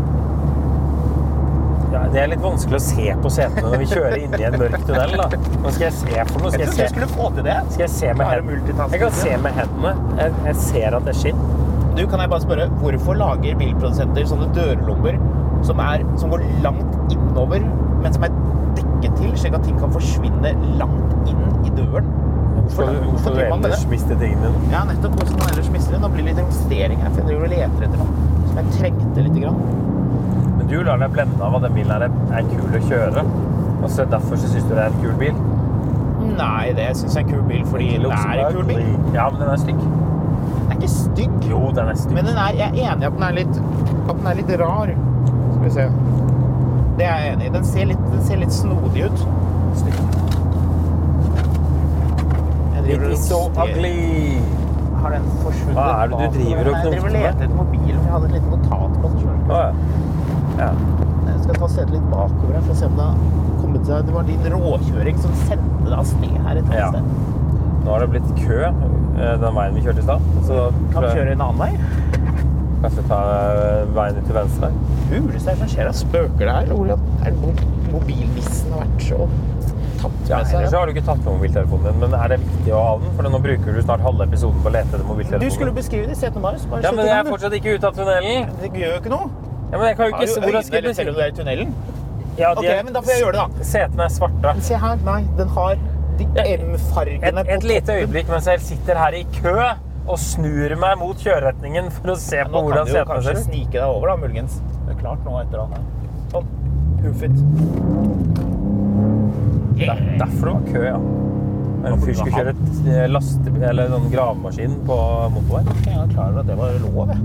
[SPEAKER 2] ja, Det er litt vanskelig å se på setene når vi kjører inn i en mørk tunnel, da. Hva skal jeg se for noe?
[SPEAKER 1] Jeg
[SPEAKER 2] Skal jeg
[SPEAKER 1] trodde
[SPEAKER 2] se,
[SPEAKER 1] du skulle få til det.
[SPEAKER 2] skal jeg se med
[SPEAKER 1] Klare
[SPEAKER 2] hendene?
[SPEAKER 1] multitasking.
[SPEAKER 2] Jeg kan se med hendene. Jeg, jeg ser at det er skinn.
[SPEAKER 1] Du, kan jeg bare spørre, hvorfor lager bilprodusenter sånne dørlommer som, er, som går langt innover, men som er dekket til, slik at ting kan forsvinne langt inn i døren? Hvorfor-
[SPEAKER 2] Hvorfor
[SPEAKER 1] hvorfor
[SPEAKER 2] hvorfor du
[SPEAKER 1] driver man med
[SPEAKER 2] ellers
[SPEAKER 1] det?
[SPEAKER 2] miste tingene dine?
[SPEAKER 1] Ja, nettopp. Hvordan man ellers mister det. Nå blir det litt investering her, for jeg driver og leter etter noe som jeg trengte litt. Grann.
[SPEAKER 2] Men du lar deg blende av at den bilen her er, er kul å kjøre. Og så derfor så syns du det er en kul bil.
[SPEAKER 1] Nei, det syns jeg er en kul bil, fordi det er en kul bil.
[SPEAKER 2] Ja, men den er stygg.
[SPEAKER 1] Den er ikke stygg,
[SPEAKER 2] Jo, den er stygg.
[SPEAKER 1] men den er, jeg er enig i at den er litt, at den er litt rar. Skal vi se. Det er jeg enig i. Den ser litt, den ser litt snodig ut.
[SPEAKER 2] stygg.
[SPEAKER 1] Jeg
[SPEAKER 2] It
[SPEAKER 1] driver og
[SPEAKER 2] is so
[SPEAKER 1] justerer-
[SPEAKER 2] ugly.
[SPEAKER 1] Har den forsvunnet?
[SPEAKER 2] Hva er det du driver
[SPEAKER 1] Jeg driver
[SPEAKER 2] og
[SPEAKER 1] og
[SPEAKER 2] knoter med?
[SPEAKER 1] leter etter mobilen. Jeg hadde et lite notat på den. skjønner
[SPEAKER 2] Å, ja. ja.
[SPEAKER 1] du. Jeg skal ta setet litt bakover her for å se om det har kommet seg Det var din råkjøring som sendte deg av sted her et
[SPEAKER 2] Ja.
[SPEAKER 1] annet sted.
[SPEAKER 2] Nå har det blitt kø eh, den veien vi kjørte i stad. Så
[SPEAKER 1] Kan
[SPEAKER 2] tror
[SPEAKER 1] vi
[SPEAKER 2] jeg-
[SPEAKER 1] kjøre en annen vei?
[SPEAKER 2] kanskje ta eh, veien ut til venstre.
[SPEAKER 1] Huleste er det som skjer? da? Spøker det her? Hvor er det mo- mobilnissen har vært så tatt
[SPEAKER 2] Ja,
[SPEAKER 1] med
[SPEAKER 2] ellers
[SPEAKER 1] seg?
[SPEAKER 2] så har du ikke tatt med mobiltelefonen din, men er det viktig å ha den? For nå bruker du snart halve episoden på å lete etter
[SPEAKER 1] Du
[SPEAKER 2] mobiltelefonen.
[SPEAKER 1] skulle beskrive det i setene våre. så bare
[SPEAKER 2] Ja,
[SPEAKER 1] slutt
[SPEAKER 2] men
[SPEAKER 1] i
[SPEAKER 2] jeg
[SPEAKER 1] gang,
[SPEAKER 2] er
[SPEAKER 1] du.
[SPEAKER 2] fortsatt ikke ute av tunnelen.
[SPEAKER 1] Det gjør jo ikke noe.
[SPEAKER 2] Ja, men jeg kan jo
[SPEAKER 1] Har
[SPEAKER 2] ikke
[SPEAKER 1] du
[SPEAKER 2] se hvordan skal
[SPEAKER 1] øyne
[SPEAKER 2] jeg
[SPEAKER 1] eller selv om
[SPEAKER 2] beskrive
[SPEAKER 1] du er i tunnelen?
[SPEAKER 2] Ja, de
[SPEAKER 1] Ok,
[SPEAKER 2] er-
[SPEAKER 1] men da får jeg gjøre det, da.
[SPEAKER 2] Setene er svarte.
[SPEAKER 1] Se her. Nei, den har de
[SPEAKER 2] Et- Et,
[SPEAKER 1] M-fargene på
[SPEAKER 2] et lite øyeblikk mens jeg sitter her i kø og snur meg mot kjøreretningen for å se
[SPEAKER 1] Men
[SPEAKER 2] på
[SPEAKER 1] Nå kan
[SPEAKER 2] hvordan
[SPEAKER 1] du jo
[SPEAKER 2] setene
[SPEAKER 1] kanskje
[SPEAKER 2] ser ut.
[SPEAKER 1] snike deg over, da, muligens. Det er klart nå etter han her. Sånn. Hoofit.
[SPEAKER 2] Det er derfor det var kø, ja. En fyr skulle kjøre et eh, laste, eller sånn gravemaskin på motorveien.
[SPEAKER 1] Jeg er klar over at det var lov, jeg.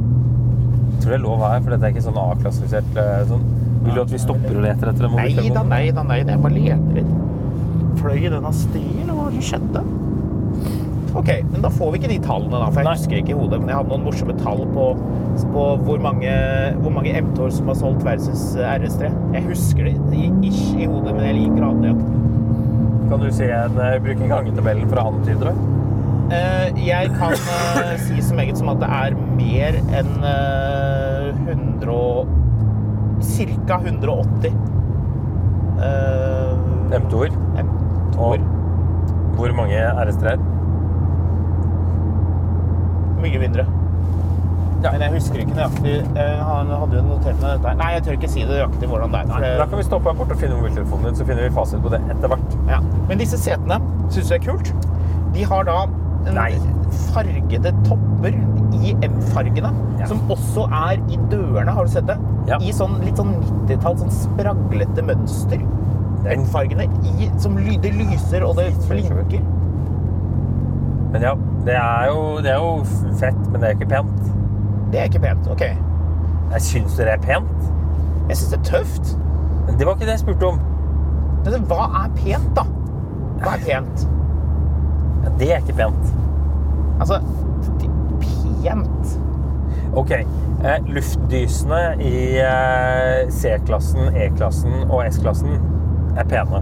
[SPEAKER 2] Jeg tror det er lov her, for dette er ikke sånn A-klassifisert. eh, Sånn. Vil du at vi stopper og leter etter en
[SPEAKER 1] Nei da,
[SPEAKER 2] mobiltelefon?
[SPEAKER 1] nei da, nei da. Jeg bare leter litt. Fløy den av sted, eller hva var det som skjedde? OK, men da får vi ikke de tallene, da. For jeg husker ikke i hodet, men jeg hadde noen morsomme tall på, på hvor mange, hvor mange MT-er som var solgt versus eh, RS3. Jeg husker det i- ish i hodet, men jeg liker å ha det igjen.
[SPEAKER 2] Kan du se en, eh, bruke gangetabellen for å antyde det?
[SPEAKER 1] Eh, jeg kan eh, si så meget som at det er mer enn eh, 100 og Cirka 180. Uh,
[SPEAKER 2] M2-er. Og hvor mange RS3-er?
[SPEAKER 1] Mye mindre.
[SPEAKER 2] Ja.
[SPEAKER 1] Men jeg husker ikke nøyaktig eh, Han hadde jo notert meg dette. her. Nei, jeg tør ikke si det nøyaktig hvordan det er. for
[SPEAKER 2] Da
[SPEAKER 1] det-
[SPEAKER 2] kan vi stoppe her borte og finne mobiltelefonen din, så finner vi fasit på det etter hvert.
[SPEAKER 1] Ja. Men disse setene syns du er kult. De har da en
[SPEAKER 2] Nei.
[SPEAKER 1] fargede topper i M-fargene,
[SPEAKER 2] Ja.
[SPEAKER 1] som også er i dørene, har du sett det?
[SPEAKER 2] Ja.
[SPEAKER 1] I sånn litt sånn 90-tall, sånn spraglete mønster.
[SPEAKER 2] Det er en
[SPEAKER 1] M-fargene i, som ly, det lyser, og det blinker.
[SPEAKER 2] Men ja, det er jo, det er jo fett, men det er ikke pent.
[SPEAKER 1] Det er ikke pent. Ok.
[SPEAKER 2] Jeg syns det er pent.
[SPEAKER 1] Jeg syns det er tøft.
[SPEAKER 2] Men det var ikke det jeg spurte om.
[SPEAKER 1] Men hva er pent, da? Hva er pent?
[SPEAKER 2] Ja, det er ikke pent.
[SPEAKER 1] Altså, det- pent
[SPEAKER 2] Ok, eh, luftdysene i eh, C-klassen, E-klassen og S-klassen er pene.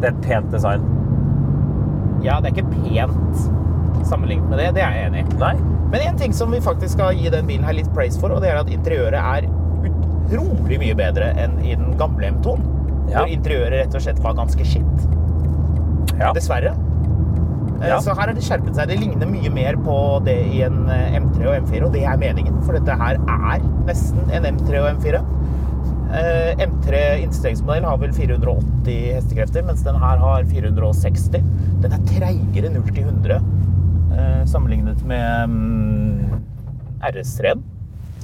[SPEAKER 2] Det er et pent design.
[SPEAKER 1] Ja, det er ikke pent sammenlignet med det. Det er jeg enig i.
[SPEAKER 2] Nei?
[SPEAKER 1] Men en ting som vi faktisk skal gi den bilen her litt praise for, og det er at interiøret er utrolig mye bedre enn i den gamle M2-en.
[SPEAKER 2] Ja.
[SPEAKER 1] Hvor interiøret rett og slett var ganske skitt.
[SPEAKER 2] Ja.
[SPEAKER 1] Dessverre. Eh,
[SPEAKER 2] Ja.
[SPEAKER 1] Så her har det skjerpet seg. Det ligner mye mer på det i en eh, M3 og M4, og det er meningen. For dette her er nesten en M3 og M4. Eh, M3 innstegsmodell har vel 480 hestekrefter, mens den her har 460. Den er treigere 0 til 100 eh, sammenlignet med mm, RS3-en.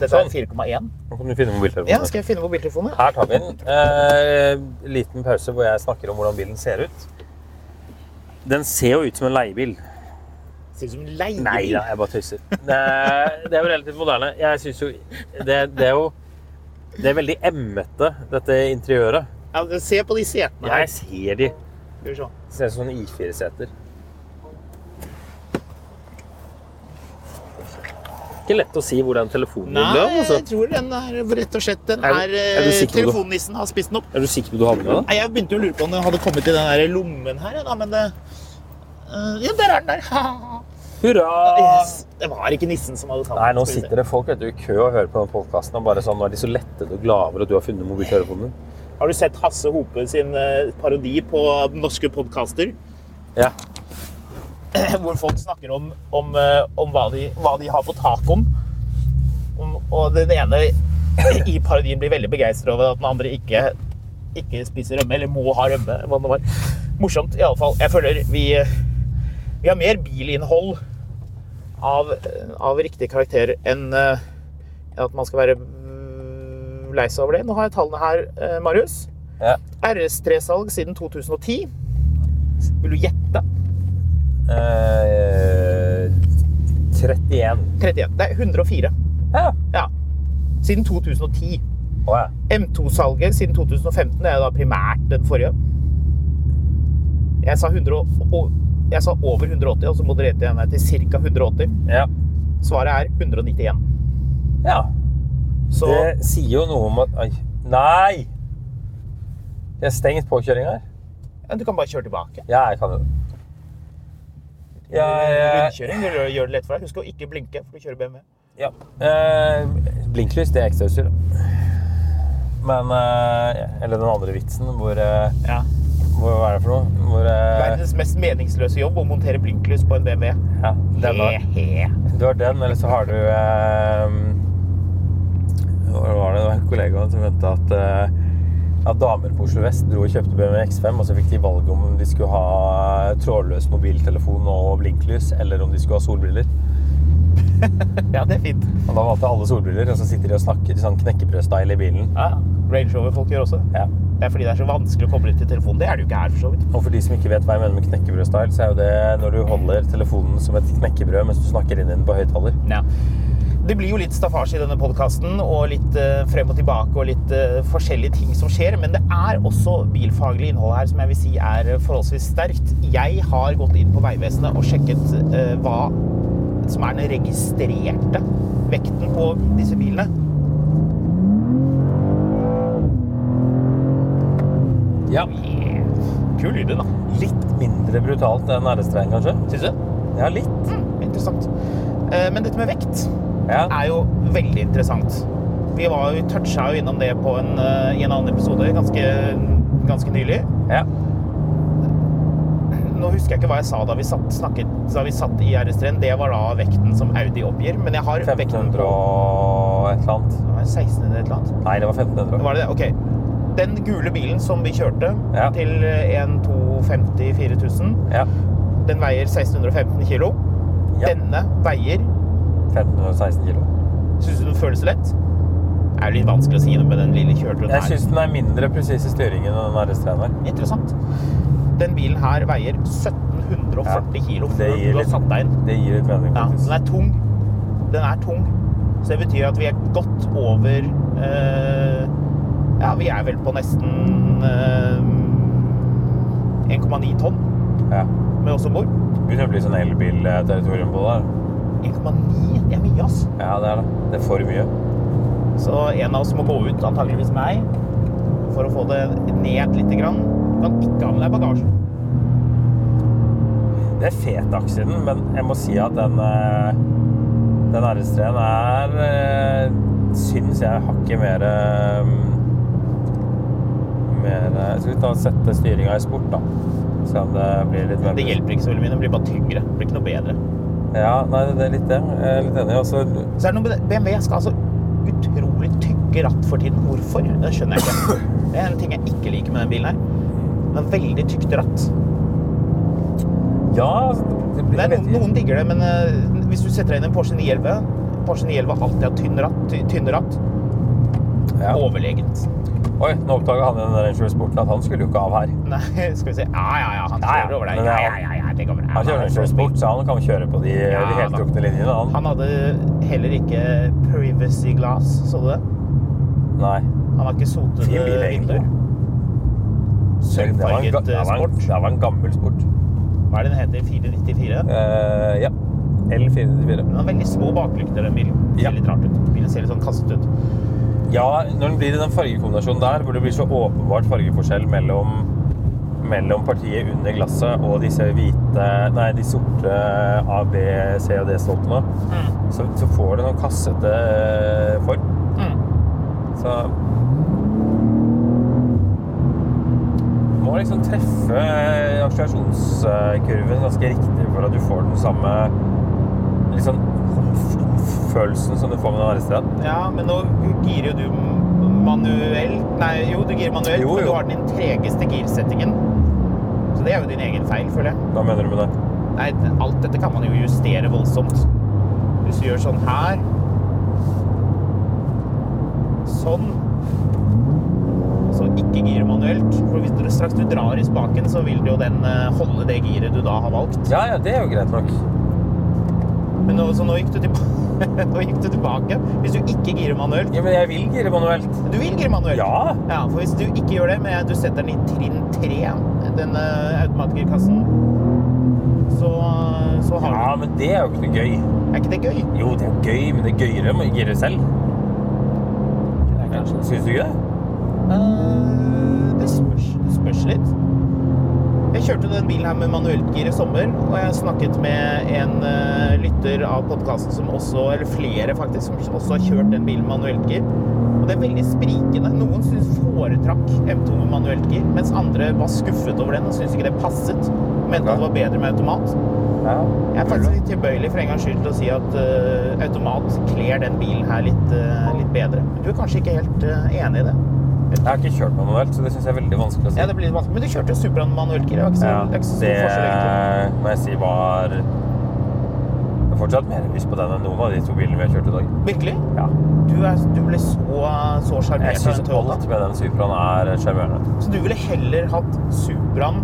[SPEAKER 1] Dette
[SPEAKER 2] Sånn.
[SPEAKER 1] er 4,1.
[SPEAKER 2] Nå kan du finne mobiltelefonen.
[SPEAKER 1] Ja, skal jeg finne mobiltelefonen?
[SPEAKER 2] Her tar vi en eh, liten pause hvor jeg snakker om hvordan bilen ser ut. Den ser jo ut som en leiebil.
[SPEAKER 1] Ser ut som en leiebil.
[SPEAKER 2] Nei da, jeg bare tøyser. Det er, det er jo relativt moderne. Jeg synes jo det, det er jo Det er veldig emmete, dette interiøret.
[SPEAKER 1] Ja, men se på de setene her.
[SPEAKER 2] Jeg ser de.
[SPEAKER 1] Skal vi se.
[SPEAKER 2] Det ser ut som sånne I4-seter. Ikke lett å si hvor den telefonen din ble
[SPEAKER 1] Nei,
[SPEAKER 2] av. altså.
[SPEAKER 1] jeg tror den er rett og slett den
[SPEAKER 2] Er du-
[SPEAKER 1] er,
[SPEAKER 2] er du
[SPEAKER 1] eh,
[SPEAKER 2] sikker på det?
[SPEAKER 1] Telefonnissen har spist den opp.
[SPEAKER 2] Er du sikker på at du hadde med den?
[SPEAKER 1] Nei, jeg begynte å lure på om den hadde kommet i den der lommen her, ja, da, men det eh, Ja, der er den der!
[SPEAKER 2] Hurra!
[SPEAKER 1] Yes. Det var ikke nissen som hadde tatt
[SPEAKER 2] Nei, nå sitter det folk vet du, i kø og hører på den podkasten og bare sånn Nå er de så lettet og glade over at du har funnet mobiltelefonen din.
[SPEAKER 1] Har du sett Hasse Hope sin eh, parodi på norske podkaster?
[SPEAKER 2] Ja.
[SPEAKER 1] Hvor folk snakker om, om, eh, om hva, de, hva de har på tak om. om. Og den ene i parodien blir veldig begeistra over at den andre ikke, ikke spiser rømme, eller må ha rømme. Hva det var. Morsomt, iallfall. Jeg føler vi, vi har mer bilinnhold av, av riktig karakter enn eh, enn at man skal være mm, lei seg over det. Nå har jeg tallene her, eh, Marius.
[SPEAKER 2] Ja.
[SPEAKER 1] RS3-salg siden 2010. Vil du gjette?
[SPEAKER 2] Eh, 31.
[SPEAKER 1] 31. Det er 104.
[SPEAKER 2] Ja.
[SPEAKER 1] Ja. Siden 2010.
[SPEAKER 2] Å ja.
[SPEAKER 1] M2-salget siden 2015 er da primært den forrige. Jeg sa, 100 og, og- jeg sa over 180, og så modererte jeg meg til ca. 180.
[SPEAKER 2] ja.
[SPEAKER 1] Svaret er 191.
[SPEAKER 2] Ja.
[SPEAKER 1] Så
[SPEAKER 2] Det sier jo noe om at Oi. Nei! Jeg har stengt påkjøringa her.
[SPEAKER 1] ja, du kan bare kjøre tilbake.
[SPEAKER 2] Ja, jeg kan jo det. Jeg, jeg,
[SPEAKER 1] Rundkjøring gjør gjør det lett for deg. Husk å ikke blinke, for du kjører BMW.
[SPEAKER 2] ja. Eh, blinklys, det er ekstrautstyr. da. Men eh, Eller den andre vitsen hvor eh,
[SPEAKER 1] Ja.
[SPEAKER 2] hvor- Hva er det for noe? Hvor eh,
[SPEAKER 1] Verdens mest meningsløse jobb å montere blinklys på en BMW.
[SPEAKER 2] Ja, den var
[SPEAKER 1] He-he.
[SPEAKER 2] Du har den, eller så har du eh, Hva var det? Det var en kollega som mente at, eh, at damer på Oslo Vest dro og kjøpte BMW X5, og så fikk de valget om de skulle ha trådløs mobiltelefon og blinklys, eller om de skulle ha solbriller.
[SPEAKER 1] Ja, det er fint.
[SPEAKER 2] Og da valgte alle solbriller, og så sitter de og snakker sånn knekkebrødstyle i bilen.
[SPEAKER 1] Ja. Range Rover-folk gjør også det.
[SPEAKER 2] Ja.
[SPEAKER 1] Det er fordi det er så vanskelig å koble til telefonen. Det er det jo ikke her, for så vidt.
[SPEAKER 2] Og for de som ikke vet hva jeg mener med knekkebrødstyle, så er jo det når du holder telefonen som et knekkebrød mens du snakker inn i den på høyttaler.
[SPEAKER 1] Det blir jo litt staffasje i denne podkasten, og litt eh, frem og tilbake og litt eh, forskjellige ting som skjer, men det er også bilfaglig innhold her som jeg vil si er eh, forholdsvis sterkt. Jeg har gått inn på Vegvesenet og sjekket eh, hva som er den registrerte vekten på disse bilene.
[SPEAKER 2] Ja.
[SPEAKER 1] Kul lyd, da.
[SPEAKER 2] Litt mindre brutalt enn RS-trein, kanskje?
[SPEAKER 1] Syns du?
[SPEAKER 2] Ja, litt.
[SPEAKER 1] Interessant. Eh, Men dette med vekt
[SPEAKER 2] Ja.
[SPEAKER 1] er jo veldig interessant. Vi var jo, toucha jo innom det på en, eh, i en annen episode ganske, ganske nylig.
[SPEAKER 2] ja.
[SPEAKER 1] Nå husker jeg ikke hva jeg sa da vi satt, snakket, da vi satt i RS3. Det var da vekten som Audi oppgir. Men jeg har vekten
[SPEAKER 2] 1500
[SPEAKER 1] på
[SPEAKER 2] og et eller annet.
[SPEAKER 1] det var 1600 et eller annet.
[SPEAKER 2] Nei, det var 1500.
[SPEAKER 1] Var det det? Ok. Den gule bilen som vi kjørte
[SPEAKER 2] Ja.
[SPEAKER 1] til eh, 1250 4000,
[SPEAKER 2] Ja.
[SPEAKER 1] den veier 1615 kilo.
[SPEAKER 2] ja.
[SPEAKER 1] Denne veier
[SPEAKER 2] 1516 kilo.
[SPEAKER 1] Syns du den føles lett? Det er jo litt vanskelig å si noe med den lille kjøreturen
[SPEAKER 2] Jeg
[SPEAKER 1] her.
[SPEAKER 2] syns den er mindre presis i styringen enn den RS-3-en her.
[SPEAKER 1] Interessant. Den bilen her veier 1740 kilo
[SPEAKER 2] Det
[SPEAKER 1] før
[SPEAKER 2] gir
[SPEAKER 1] du har
[SPEAKER 2] litt-
[SPEAKER 1] satt deg inn.
[SPEAKER 2] Det gir litt mening,
[SPEAKER 1] Ja, den
[SPEAKER 2] faktisk.
[SPEAKER 1] er tung. Den er tung. Så det betyr at vi er godt over eh, Ja, vi er vel på nesten eh, 1,9 tonn
[SPEAKER 2] Ja.
[SPEAKER 1] med oss om bord.
[SPEAKER 2] Begynner å bli sånn elbilterritorium på det. her.
[SPEAKER 1] 1,9 det er mye, ass.
[SPEAKER 2] Ja, det er det. Det er for mye.
[SPEAKER 1] Så en av oss må gå ut, antageligvis meg, for å få det ned litt. Grann. Du kan ikke ha med deg bagasje.
[SPEAKER 2] Det er fet aksiden, men jeg må si at den, eh, den RS3-en er eh, Syns jeg hakket mer eh, Mer eh, Skal vi ta og sette styringa i sport, da? Se om det blir litt mer
[SPEAKER 1] Det hjelper ikke så veldig mye. Den blir bare tyngre. Det blir ikke noe bedre.
[SPEAKER 2] Ja, nei, det er litt det. Jeg er litt enig. Altså,
[SPEAKER 1] Så er det noe med det. BMW skal altså utrolig tygge ratt for tiden. Hvorfor? Det skjønner jeg ikke. Det er en ting jeg ikke liker med den bilen her. Den har veldig tykt ratt.
[SPEAKER 2] Ja, altså, det,
[SPEAKER 1] Det
[SPEAKER 2] jeg
[SPEAKER 1] er
[SPEAKER 2] vet
[SPEAKER 1] noen,
[SPEAKER 2] ikke.
[SPEAKER 1] noen digger det, men eh, hvis du setter deg inn i en Porsche 911 Porsche 911 har alltid hatt tynn ratt. Ty, tynne ratt.
[SPEAKER 2] Ja.
[SPEAKER 1] Overlegent.
[SPEAKER 2] Oi, nå oppdaga han i den Range Rover Sporten at han skulle jo ikke av her.
[SPEAKER 1] Nei, skal vi se. Ja, ja, ja. Han
[SPEAKER 2] Ja, ja.
[SPEAKER 1] kjører over deg.
[SPEAKER 2] Men
[SPEAKER 1] Ja,
[SPEAKER 2] det er
[SPEAKER 1] ja, ja. ja det går bra.
[SPEAKER 2] Han kjører Range Rover Sport, så han kan kjøre på de,
[SPEAKER 1] Ja,
[SPEAKER 2] de helt
[SPEAKER 1] da.
[SPEAKER 2] trukne linjene. Han.
[SPEAKER 1] Han hadde heller ikke privacy glass, så du det?
[SPEAKER 2] Nei.
[SPEAKER 1] Han har ikke sotede
[SPEAKER 2] Fin bil, egentlig.
[SPEAKER 1] vinduer.
[SPEAKER 2] Det var en,
[SPEAKER 1] Sølvfarget
[SPEAKER 2] ga- det
[SPEAKER 1] eh,
[SPEAKER 2] var en,
[SPEAKER 1] sport.
[SPEAKER 2] det var en gammel sport.
[SPEAKER 1] Hva er det den heter? 494?
[SPEAKER 2] Eh, ja. L494.
[SPEAKER 1] Den har veldig små baklykter, den bilen. Det
[SPEAKER 2] Ja.
[SPEAKER 1] ser litt rart ut. Bilen ser litt sånn kastet ut.
[SPEAKER 2] Ja, når den blir i den fargekombinasjonen der, hvor det blir så åpenbart fargeforskjell mellom, mellom partiet under glasset og disse hvite Nei, de sorte A, B, C og D-stolpene, så, så får du noen kassete eh, form. Så Må liksom treffe eh, akselerasjonskurven ganske riktig for at du får den samme liksom følelsen som du får med den andre stedet.
[SPEAKER 1] Ja, men nå girer jo du m- manuelt. Nei, jo, du girer manuelt,
[SPEAKER 2] Jo,
[SPEAKER 1] men
[SPEAKER 2] jo.
[SPEAKER 1] du har den tregeste girsettingen. Så det er jo din egen feil, føler jeg.
[SPEAKER 2] Hva mener du med det?
[SPEAKER 1] Nei, alt dette kan man jo justere voldsomt. Hvis du gjør sånn her Sånn. Så ikke gir manuelt. For hvis du straks du drar i spaken, så vil jo den eh, holde det giret du da har valgt.
[SPEAKER 2] Ja, ja, det er jo greit nok.
[SPEAKER 1] Men nå, så nå gikk, du tilbake, nå gikk du tilbake. Hvis du ikke girer manuelt
[SPEAKER 2] Ja, men jeg vil gire manuelt.
[SPEAKER 1] Du vil gire manuelt?
[SPEAKER 2] Ja.
[SPEAKER 1] Ja, for hvis du ikke gjør det, men du setter den i trinn 3, den eh, automatgirkassen, så, så har
[SPEAKER 2] Ja, men det er jo ikke noe gøy.
[SPEAKER 1] du Er ikke det gøy?
[SPEAKER 2] Jo, det er gøy, men det er gøyere med å gire selv. Syns du ikke det?
[SPEAKER 1] Eh, det spørs, det spørs litt. Jeg kjørte den bilen her med manuelt gir i sommer, og jeg snakket med en eh, lytter av podkasten som også, eller flere faktisk, som også har kjørt den bilen med manuelt gir. Og det er veldig sprikende. Noen syns foretrakk M2 med manuelt gir, mens andre var skuffet over den og syntes ikke det passet. Mente at det var bedre med automat.
[SPEAKER 2] Ja.
[SPEAKER 1] Jeg er faktisk litt tilbøyelig for en gangs skyld til å si at eh, automat kler den bilen her litt, eh, litt bedre. Men du er kanskje ikke helt eh, enig i det?
[SPEAKER 2] Jeg har ikke kjørt manuelt, så det syns jeg er veldig vanskelig å si.
[SPEAKER 1] Ja, det blir litt vanskelig. Men du kjørte jo Supraen manuelt gir. Det var ikke så,
[SPEAKER 2] Ja,
[SPEAKER 1] det er ikke så stor forskjell
[SPEAKER 2] det
[SPEAKER 1] egentlig.
[SPEAKER 2] må jeg si var Jeg har fortsatt mer lyst på den enn noen av de to bilene vi har kjørt i dag.
[SPEAKER 1] Virkelig?
[SPEAKER 2] Ja.
[SPEAKER 1] Du, er, du ble så så
[SPEAKER 2] Jeg
[SPEAKER 1] sjarmert av
[SPEAKER 2] syns
[SPEAKER 1] den
[SPEAKER 2] alt
[SPEAKER 1] Toyota.
[SPEAKER 2] med den Supraen er sjarmerende.
[SPEAKER 1] Så du ville heller hatt Supraen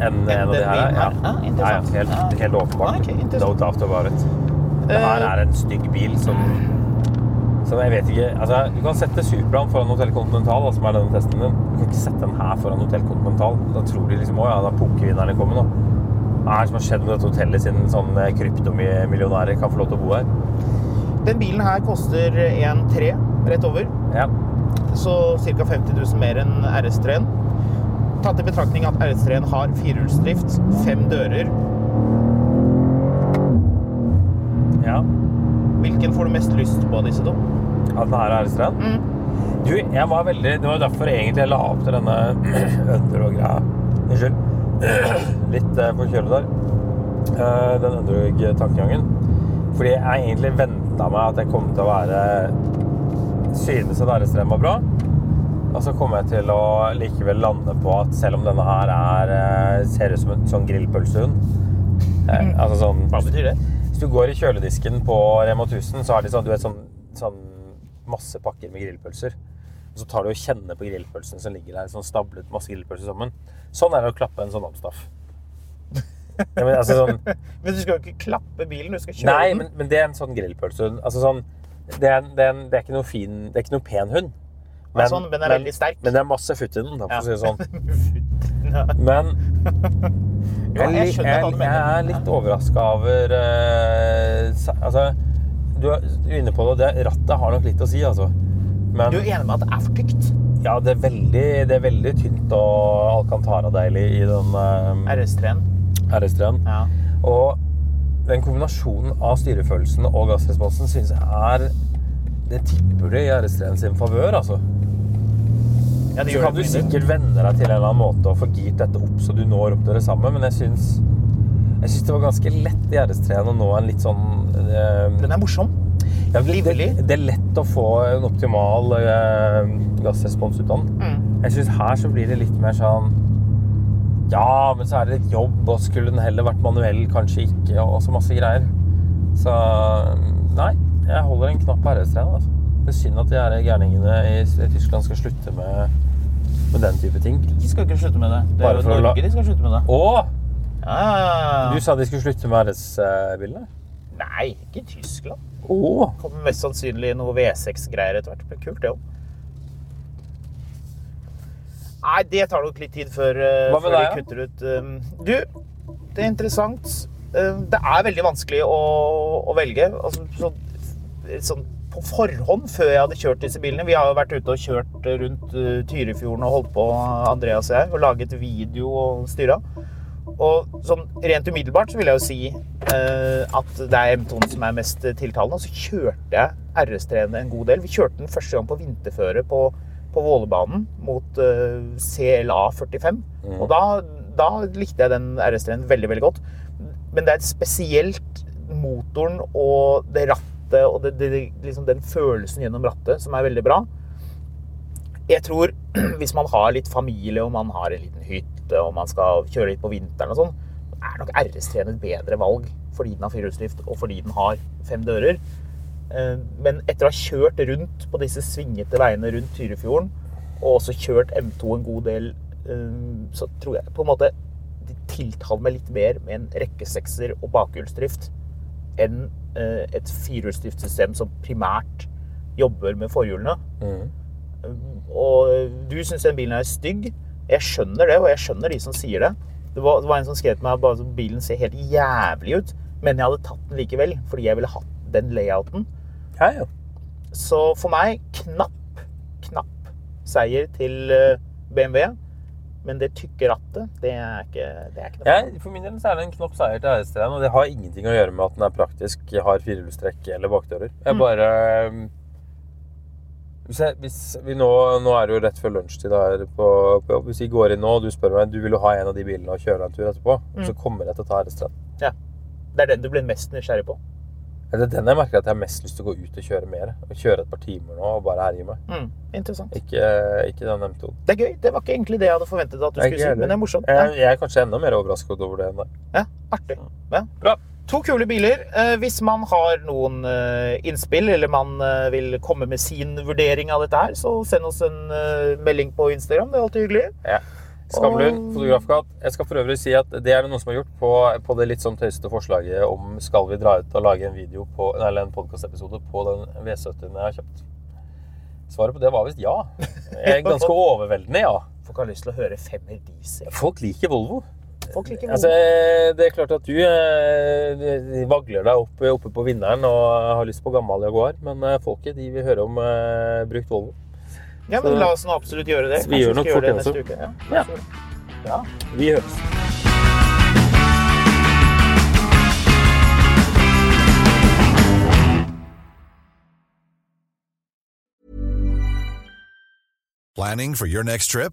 [SPEAKER 2] Enn en av de
[SPEAKER 1] den
[SPEAKER 2] her.
[SPEAKER 1] bilen
[SPEAKER 2] Ja.
[SPEAKER 1] her? Ja,
[SPEAKER 2] ja, ja,
[SPEAKER 1] interessant.
[SPEAKER 2] helt, helt
[SPEAKER 1] Ja,
[SPEAKER 2] åpenbart.
[SPEAKER 1] ok, interessant.
[SPEAKER 2] No doubt about it. Det her
[SPEAKER 1] Eh,
[SPEAKER 2] er en stygg bil som som jeg vet ikke altså, Du kan sette Supraen foran Hotell Continental, da, som er denne testen din. Du kan ikke sette den her foran Hotell Continental. Da tror de liksom Å ja, da er pokervinnerne kommet nå. Hva er det som har skjedd med dette hotellet siden sånne kryptomillionærer kan få lov til å bo her?
[SPEAKER 1] Den bilen her koster 1,3 rett over.
[SPEAKER 2] Ja.
[SPEAKER 1] Så ca. 50 000 mer enn RS3-en. Tatt i betraktning at RS3-en har firehjulsdrift, fem dører.
[SPEAKER 2] ja.
[SPEAKER 1] Hvilken får du mest lyst på av disse to?
[SPEAKER 2] At den her er Elstrand? Du, jeg var veldig Det var jo derfor egentlig jeg la opp til denne Underdog-greia. Unnskyld. Litt eh, forkjølet der. Eh, Den Underdog-tankegangen. Fordi jeg egentlig venta meg at jeg kom til å være Synes at Elstrand var bra. Og så kom jeg til å likevel lande på at selv om denne her er, eh, ser ut som en sånn grillpølsehund eh, Altså sånn
[SPEAKER 1] Hva betyr det?
[SPEAKER 2] hvis du går i kjøledisken på Rema 1000, så har de sånn, du vet, sånn, sånn masse pakker med grillpølser. Og så tar du og kjenner på grillpølsen som ligger der, sånn stablet masse grillpølser sammen. Sånn er det å klappe en sånn omstaff. Ja, men, altså, sånn,
[SPEAKER 1] Men du skal jo ikke klappe bilen, du skal kjøre
[SPEAKER 2] nei,
[SPEAKER 1] den.
[SPEAKER 2] men, men det er en sånn grillpølse. Altså, sånn, det, er, en- det, er en, det er ikke noe fin, det er ikke noe pen hund. Men,
[SPEAKER 1] sånn, men den er veldig sterk.
[SPEAKER 2] Men det er masse futt i den, da, for å si det sånn.
[SPEAKER 1] Ja.
[SPEAKER 2] Men
[SPEAKER 1] Jo,
[SPEAKER 2] jeg,
[SPEAKER 1] jeg
[SPEAKER 2] li-
[SPEAKER 1] skjønner hva du
[SPEAKER 2] jeg, jeg er
[SPEAKER 1] mener.
[SPEAKER 2] litt overraska over eh, sa- Altså, du er du er inne på det, og det. Rattet har nok litt å si, altså. Men
[SPEAKER 1] Du er enig med at det er for tykt?
[SPEAKER 2] ja, det er veldig, det er veldig tynt og Alcantara-deilig i den eh,
[SPEAKER 1] RS3-en.
[SPEAKER 2] RS3-en.
[SPEAKER 1] Ja.
[SPEAKER 2] Og den kombinasjonen av styrefølelsen og gassresponsen syns jeg er Det tipper det i RS3-en sin favør, altså.
[SPEAKER 1] Ja, det
[SPEAKER 2] Så
[SPEAKER 1] gjør
[SPEAKER 2] kan
[SPEAKER 1] det på min
[SPEAKER 2] du
[SPEAKER 1] del.
[SPEAKER 2] sikkert vende deg til en eller annen måte og få girt dette opp så du når opp til det samme, men jeg syns jeg syns det var ganske lett i RS3-en å nå en litt sånn eh,
[SPEAKER 1] Den er morsom.
[SPEAKER 2] Det er,
[SPEAKER 1] Livlig.
[SPEAKER 2] Det, det er lett å få en optimal eh, gassrespons ut av den. Jeg syns her så blir det litt mer sånn Ja, men så er det litt jobb, og skulle den heller vært manuell, kanskje ikke, og så masse greier. Så nei, jeg holder en knapp på RS-trenet. Altså. Det er synd at de her gærningene i Tyskland skal slutte med, med den type ting.
[SPEAKER 1] De skal ikke slutte med det. Det
[SPEAKER 2] Bare
[SPEAKER 1] er jo
[SPEAKER 2] for å
[SPEAKER 1] Norge
[SPEAKER 2] la-
[SPEAKER 1] de skal slutte med det.
[SPEAKER 2] Å!
[SPEAKER 1] Ah.
[SPEAKER 2] Du sa de skulle slutte med RS-bilene?
[SPEAKER 1] Nei, ikke Tyskland.
[SPEAKER 2] Å!
[SPEAKER 1] Kommer mest sannsynlig noe V6-greier etter hvert. Men kult, det òg. Nei, det tar nok litt tid før, eh,
[SPEAKER 2] Hva med
[SPEAKER 1] før de
[SPEAKER 2] deg, da?
[SPEAKER 1] kutter ut um, Du, det er interessant. Um, Det er veldig vanskelig å, å velge. Altså, så, sånn på forhånd, før jeg hadde kjørt disse bilene Vi har jo vært ute og kjørt rundt eh, Tyrifjorden og holdt på, Andreas og jeg, og laget video og styra. Og sånn rent umiddelbart så vil jeg jo si eh, at det er M2 som er mest tiltalende. Og så kjørte jeg RS-trenet en god del. Vi kjørte den første gang på vinterføre på, på Vålebanen mot eh, CLA 45. Og da, da likte jeg den RS-trenen veldig, veldig godt. Men det er spesielt motoren og det rattet og det, det, liksom den følelsen gjennom rattet som er veldig bra. Jeg tror hvis man har litt familie og man har en liten hytte og man skal kjøre litt på vinteren og sånn, er nok RS-trenet et bedre valg fordi den har firehjulsdrift og fordi den har fem dører. Eh, Men etter å ha kjørt rundt på disse svingete veiene rundt Tyrifjorden, og også kjørt M2 en god del, eh, så tror jeg på en måte de tiltaler meg litt mer med en rekkesekser og bakhjulsdrift enn eh, et firehjulsdriftsystem som primært jobber med forhjulene. Og du syns den bilen er stygg. Jeg skjønner det, og jeg skjønner de som sier det. Det var, det var en som skrev til meg bare at bilen ser helt jævlig ut, men jeg hadde tatt den likevel fordi jeg ville hatt den layouten.
[SPEAKER 2] Ja, ja.
[SPEAKER 1] Så for meg knapp, knapp seier til eh, BMW. Men det tykke rattet, det er ikke, det er ikke noe.
[SPEAKER 2] Jeg, for min del så er det en knapp seier til RS-treeren, og det har ingenting å gjøre med at den er praktisk, har firehjulstrekk eller bakdører. Jeg bare um, hvis, jeg, hvis vi nå, nå er det jo rett før lunsjtid her på, på jobb. Hvis vi går inn nå og du spør meg du vil jo ha en av de bilene og kjøre deg en tur etterpå, så kommer jeg til å ta RS-treeren.
[SPEAKER 1] Ja. Det er den du blir mest nysgjerrig på.
[SPEAKER 2] Det er den jeg merker at jeg har mest lyst til å gå ut og kjøre mer. Og kjøre et par timer nå og bare herje med.
[SPEAKER 1] Mm, interessant.
[SPEAKER 2] Ikke, ikke den M2.
[SPEAKER 1] Det er gøy. Det var ikke egentlig det jeg hadde forventet at du skulle si, men det er morsomt.
[SPEAKER 2] Jeg, jeg er kanskje enda mer overrasket over det enn deg.
[SPEAKER 1] Ja, artig. Ja.
[SPEAKER 2] Bra.
[SPEAKER 1] To kule biler. Eh, Hvis man har noen eh, innspill, eller man eh, vil komme med sin vurdering av dette her, så send oss en eh, melding på Instagram. Det er alltid hyggelig.
[SPEAKER 2] Ja. Skamlund, fotografkatt. Jeg skal for øvrig si at det er det noen som har gjort på, på det litt sånn tøysete forslaget om skal vi dra ut og lage en video på, eller en podcastepisode på den V70-en jeg har kjøpt. Svaret på det var visst ja. Eh, Ganske overveldende ja.
[SPEAKER 1] Folk har lyst til å høre femmer diesel.
[SPEAKER 2] Folk liker Volvo.
[SPEAKER 1] Folk liker
[SPEAKER 2] Altså,
[SPEAKER 1] noe.
[SPEAKER 2] eh, det er klart at du eh, vagler deg opp, oppe på vinneren og har lyst på gammel Jaguar, men eh, folket de vil høre om eh, brukt Volvo.
[SPEAKER 1] Ja, men la oss nå absolutt gjøre det.
[SPEAKER 2] Så vi gjør nok
[SPEAKER 1] Kanskje skal
[SPEAKER 2] fort
[SPEAKER 1] gjøre det neste uke.
[SPEAKER 2] Ja.
[SPEAKER 1] Ja. Ja.
[SPEAKER 2] Vi høres.
[SPEAKER 4] Planning for your next trip?